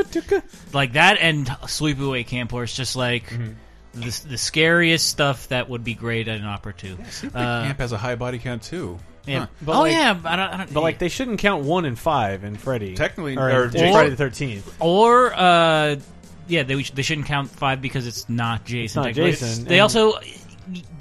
like that. And Sleepaway Camp, where it's just like.
Mm-hmm.
The, the scariest stuff that would be great at an opera too. Uh,
Camp has a high body count too.
yeah.
Huh.
But
oh
like-
yeah, I don't, I don't,
But like they shouldn't count one and five in Freddy.
Technically-
or, in
or
Jason-
Jason.
Friday the Thirteenth.
or uh, yeah, they they shouldn't count five because it's not Jason.
not
technically.
Jason,
They
and-
also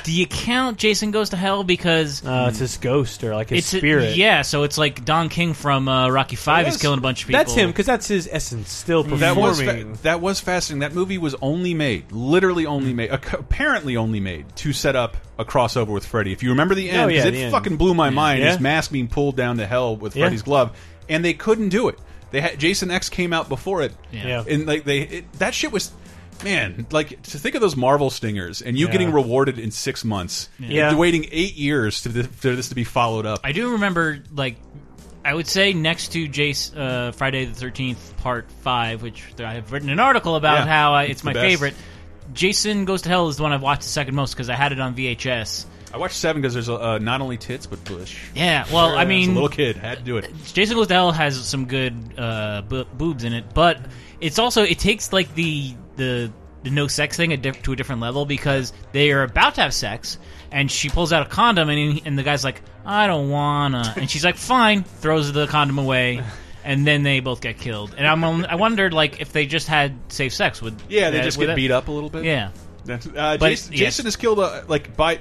do you count Jason goes to hell because
Uh, it's his ghost or like his
a-
spirit.
yeah, so it's like Don King from uh, Rocky Five is
was-
killing a bunch of people.
that's him because that's his essence still performing.
That was fa- that was fascinating. That movie was only made, literally only made, ac- apparently only made to set up a crossover with Freddy. If you remember the end,
Oh, yeah,
'cause
the
it
end.
fucking blew my mind.
Yeah.
His mask being pulled down to hell with
Yeah.
Freddy's glove, and they couldn't do it. They had Jason X came out before it,
Yeah.
and like they it, that shit was. Man, like to think of those Marvel stingers and you
Yeah.
getting rewarded in six months,
Yeah.
And waiting eight years to th for this to be followed up.
I do remember like I would say next to Jace uh, Friday the Thirteenth Part Five, which I have written an article
Yeah,
about how I, it's,
it's the
my
best.
favorite. Jason Goes to Hell is the one I've watched the second most because I had it on VHS.
I watched seven because there's uh, not only tits but bush.
Yeah, well, I
As a
mean,
little kid had to do it.
Jason Goes to Hell has some good uh, bo- boobs in it, but it's also it takes like the the, the no sex thing a diff- to a different level because they are about to have sex, and she pulls out a condom, and and the guy's like, "I don't wanna," and she's like, "Fine," throws the condom away. And then they both get killed, and I'm on- I wondered like if they just had safe sex would
Yeah, they
that-
just
would
get
that-
beat up a little bit.
Yeah,
That's, uh,
But
Jason,
it- yes.
Jason has killed uh like by.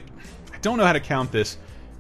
I don't know how to count this.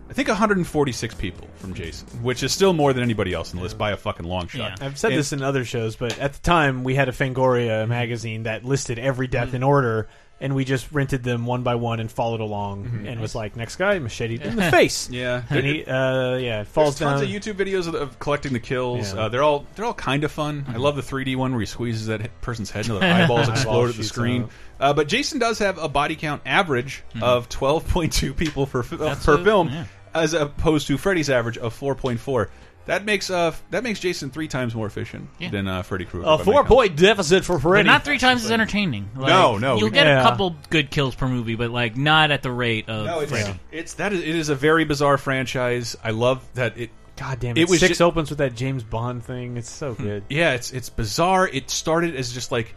I think 146 people from Jason, which is still more than anybody else on the list by a fucking long shot.
Yeah.
I've said
And-
this in other shows, but at the time we had a Fangoria magazine that listed every death in order, and we just rented them one by one and followed along, and was like, "Next guy, machete in the face."
Yeah.
and he, uh, yeah, it falls
There's tons of
down.
YouTube videos of, of collecting the kills.
Yeah.
Uh, they're all they're all kind of fun. I love the 3D one where he squeezes that he- person's head and their eyeballs explode at the
shoots
screen.
out.
Uh, but Jason does have a body count average
Hmm.
of 12.2 people per fi- uh, per
a-
film,
yeah.
as opposed to Freddy's average of 4.4. That makes uh that makes Jason three times more efficient
Yeah.
than uh, Freddy Krueger. by
a
my
four
count.
point deficit for Freddy.
but not three times as entertaining. Like,
No, no,
you'll
we-
get
Yeah.
a couple good kills per movie, but like not at the rate of
No, it's,
Freddy.
it's that is, it is a very bizarre franchise. I love that it.
God damn it! Hmm.
It was
Six
ju-
opens with that James Bond thing. It's so good.
Yeah, it's it's bizarre. It started as just like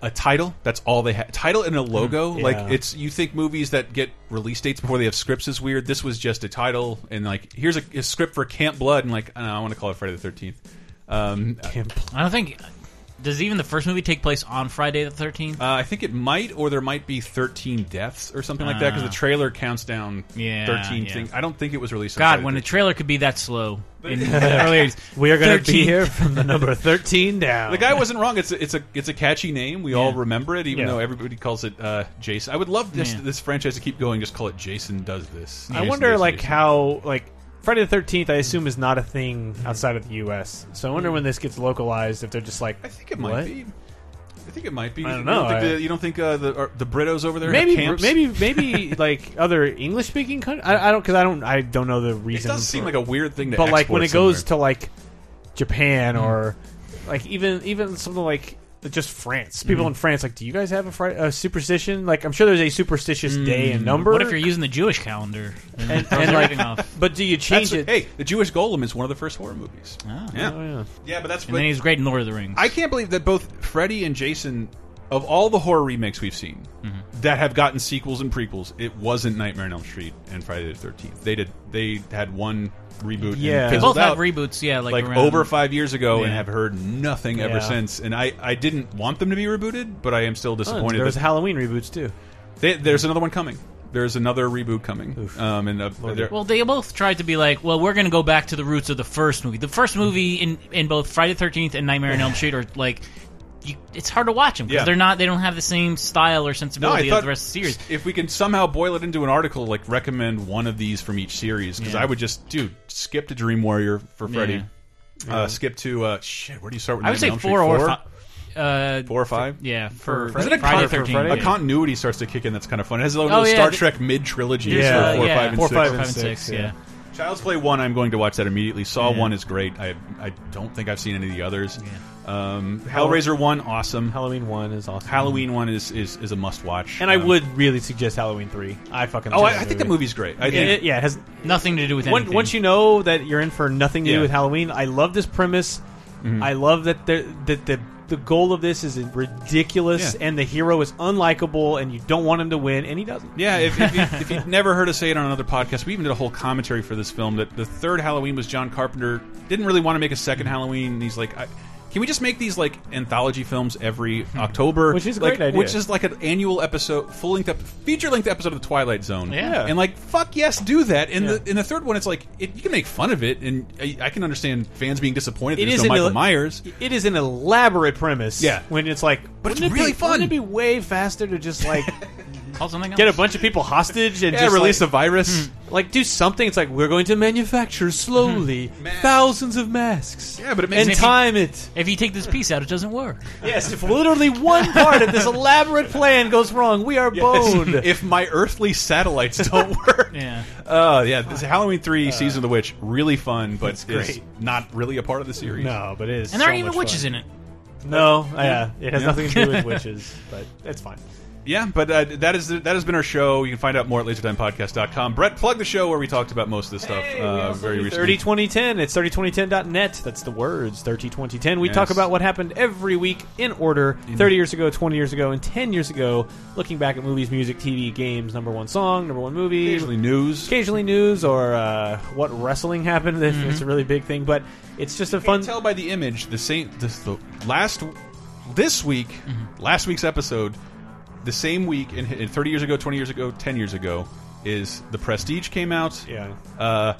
a title. That's all they had. Title and a logo.
Hmm,
Like
Yeah.
it's you think movies that get release dates before they have scripts is weird. This was just a title and like here's a, a script for Camp Blood and like I, don't know, I want to call it Friday the Thirteenth. Um, uh,
Damn.
I don't think. Does even the first movie take place on Friday the Thirteenth?
Uh, I think it might, or there might be thirteen deaths or something like that because the trailer counts down
Ah. Yeah,
thirteen
yeah.
things. I don't think it was released. on
God,
Friday
when
the
the trailer could be that slow in the early days.
We are going to
13.
be here from the number thirteen down.
The guy wasn't wrong. It's a, it's a it's a catchy name. We all remember it, even
Yeah.
though everybody calls it uh, Jason. I would love this
Yeah.
this franchise to keep going. Just call it Jason does this.
I
Jason
wonder,
does
like,
Jason.
how like Friday the Thirteenth. I assume is not a thing outside of the U.S. So I wonder when this gets localized. If they're just like,
I think it might
what?
be. I think it might be.
I don't
You
know.
think
I-
the, you don't think uh, the are the Britos over there?
Maybe,
have camps?
maybe, maybe like other English speaking countries. I, I don't because I don't. I don't know the
It
reason.
does seem
for-
like a weird thing to.
but like when it
export Hmm.
goes to like Japan or like even even something like that just France. People
Hmm.
in France like, do you guys have a, Friday, a superstition? Like, I'm sure there's a superstitious day
Hmm.
and number.
What if you're using the Jewish calendar? And,
and, like-
everything off.
But do you change
That's-
it?
Hey, the Jewish Golem is one of the first horror movies. yeah.
Oh, yeah.
yeah, but that's.
And then he's great in Lord of the Rings.
I can't believe that both Freddy and Jason, of all the horror remakes we've seen,
Mm-hmm.
that have gotten sequels and prequels, it wasn't Nightmare on Elm Street and Friday the Thirteenth. They did. They had one reboot.
Yeah.
and
They
they
fizzled
both have
out,
reboots, yeah, like,
Like
around-
over five years ago, and
Yeah.
have heard nothing ever
Yeah.
since. And I, I didn't want them to be rebooted, but I am still
Oh,
disappointed.
there was
that
Halloween reboots too.
they, there's another one coming. There's another reboot coming.
Oof.
Um, and uh, they're-
Well, they both tried to be like, well, we're going to go back to the roots of the first movie. The first movie in in both Friday the Thirteenth and Nightmare on Elm Street are like, you, it's hard to watch them because
Yeah.
they're not. They don't have the same style or
No, I
sensibility
thought
of the rest of the series.
if we can somehow boil it into an article, like recommend one of these from each series, because
Yeah.
I would just, dude, skip to Dream Warrior for Freddy. Uh, skip to uh, shit. Where do you start with?
I would say
Nightmare
four
on
or
Elm Street?
five. Uh,
Four or five.
yeah, for,
Isn't
it
Friday
con-
the Thirteenth.
for
A
Friday?
Yeah.
continuity starts to kick in. That's kind of fun. It has a little
Oh, yeah,
Star
the-
Trek mid trilogy.
There's, uh,
Yeah,
so four,
yeah,
five, and
four,
six.
five, and
and
six,
six. Yeah,
Child's Play one. I'm going to watch that immediately. Saw
Yeah.
one is great. I I don't think I've seen any of the others. Um,
Hall-
Hellraiser one, awesome.
Halloween one is awesome.
Halloween one is is, is a must watch.
and I
Um,
would really suggest Halloween three. I fucking
Oh,
love
I,
that
I think the movie's great. I
Yeah,
think
it, yeah, it has
nothing to do with
Once-
anything.
once you know that you're in for nothing to
Yeah.
do with Halloween, I love this premise. I love that the that the the goal of this is ridiculous,
Yeah.
and the hero is unlikable, and you don't want him to win, and he doesn't.
Yeah, if, if, you, if you've never heard us say it on another podcast, we even did a whole commentary for this film that the third Halloween was John Carpenter didn't really want to make a second Halloween, and he's like, I, "Can we just make these like anthology films every October?"
Hmm. Which is a
like,
great idea.
Which is like an annual episode, full length, ep feature length episode of the Twilight Zone.
Yeah.
and like, fuck yes, do that. And
Yeah.
the in the third one, it's like it, you can make fun of it, and I, I can understand fans being disappointed. That
It
there's no
is an
Michael
el-
Myers.
It is an elaborate premise.
Yeah.
when it's like,
But it's
wouldn't it be-
really fun.
Wouldn't it be way faster to just like
Call something
get a
else.
bunch of people hostage and
Yeah,
just
release
like,
a virus.
like do something? It's like we're going to manufacture slowly
Masks.
thousands of masks.
Yeah, but it makes
and
sense.
time it.
If you take this piece out, it doesn't work.
Yes, if literally one part of this elaborate plan goes wrong, we are boned.
if my earthly satellites don't work.
Yeah.
Oh yeah, this Halloween three season of the witch really fun, but it's
Uh, great.
not really a part of the series.
No, but it is.
And there
so
aren't even
much
witches
fun.
in it.
No, yeah, it has
Yeah.
nothing to do with witches, but that's fine.
Yeah, but uh, that is that has been our show. You can find out more at lasertimepodcast.com. Brett, plug the show where we talked about most of this stuff uh, very recently.
302010. It's 302010.net. That's the words. 302010. We
Yes.
talk about what happened every week in order 30 years ago, 20 years ago, and 10 years ago. Looking back at movies, music, TV, games, number one song, number one movie.
Occasionally news.
occasionally news or uh, what wrestling happened. If It's a really big thing, but it's just a
Fun.
fun.
Tell by the image the same. This, the last this week,
Mm-hmm.
last week's episode, the same week in, in thirty years ago, twenty years ago, ten years ago, is the Prestige came out.
Yeah.
uh,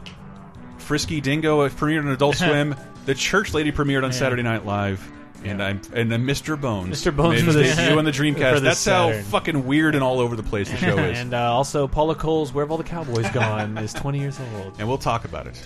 Frisky Dingo premiered on Adult Swim. The Church Lady premiered on Saturday Night Live. And I'm and then Mr. Bones,
Mr. Bones
made
for
his
this-
debut on the
for
Dreamcast.
this
That's how
Saturn.
fucking weird and all over the place the show is.
And uh, also, Paula Cole's "Where Have All the Cowboys Gone" is 20 years old.
and we'll talk about it.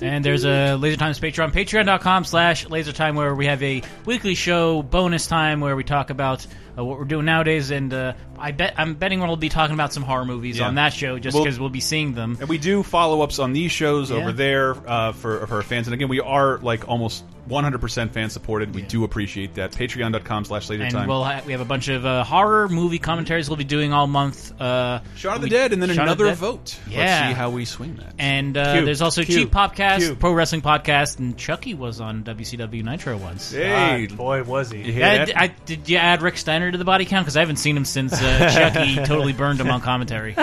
And there's a Laser Times Patreon, patreon.com slash lasertime, where we have a weekly show bonus time where we talk about uh, what we're doing nowadays. And uh, I bet I'm betting we'll be talking about some horror movies
Yeah.
on that show just
Well-
because we'll be seeing them.
And we do follow ups on these shows over
Yeah.
there uh, for for our fans. And again, we are like almost 100 percent fan supported. We do appreciate that. Patreon.com/slash later
And
time.
we'll ha- we have a bunch of uh, horror movie commentaries we'll be doing all month. Uh,
Shaun of the
we-
Dead, and then
Shaun of
another
the Dead.
vote. Let's
Yeah.
see how we swing that.
And uh,
Cube.
there's also
Cube.
Cheap Podcast,
Cube.
Pro Wrestling Podcast, and Chucky was on WCW Nitro once.
hey,
God, boy, was
you
he!
hear
Yeah,
that?
I, I- did you add Rick Steiner to the body count? Because I haven't seen him since uh, Chucky totally burned him on commentary.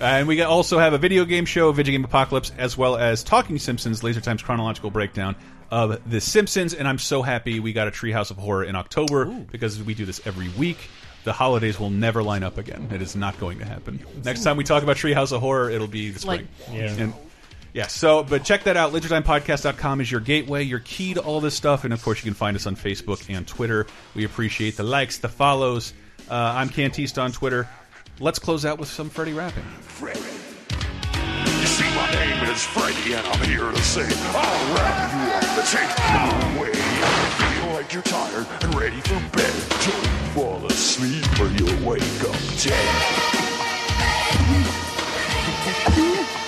And we also have a video game show, Video Game Apocalypse, as well as Talking Simpsons, Laser Time's chronological breakdown of The Simpsons. And I'm so happy we got a Treehouse of Horror in October because we do this every week. The holidays will never line up again. It is not going to happen. Next time we talk about Treehouse of Horror, it'll be the spring.
Like-
Yeah.
And yeah, so, but check that out. LaserTimePodcast.com is your gateway, your key to all this stuff. And of course, you can find us on Facebook and Twitter. We appreciate the likes, the follows. Uh, I'm Cantiste on Twitter. Let's close out with some Freddy rapping.
Freddy. You see, my name is Freddy, and I'm here to sing. I'll wrap you up and take you away. Feel like you're tired and ready for bed. Don't fall asleep or you'll wake up dead.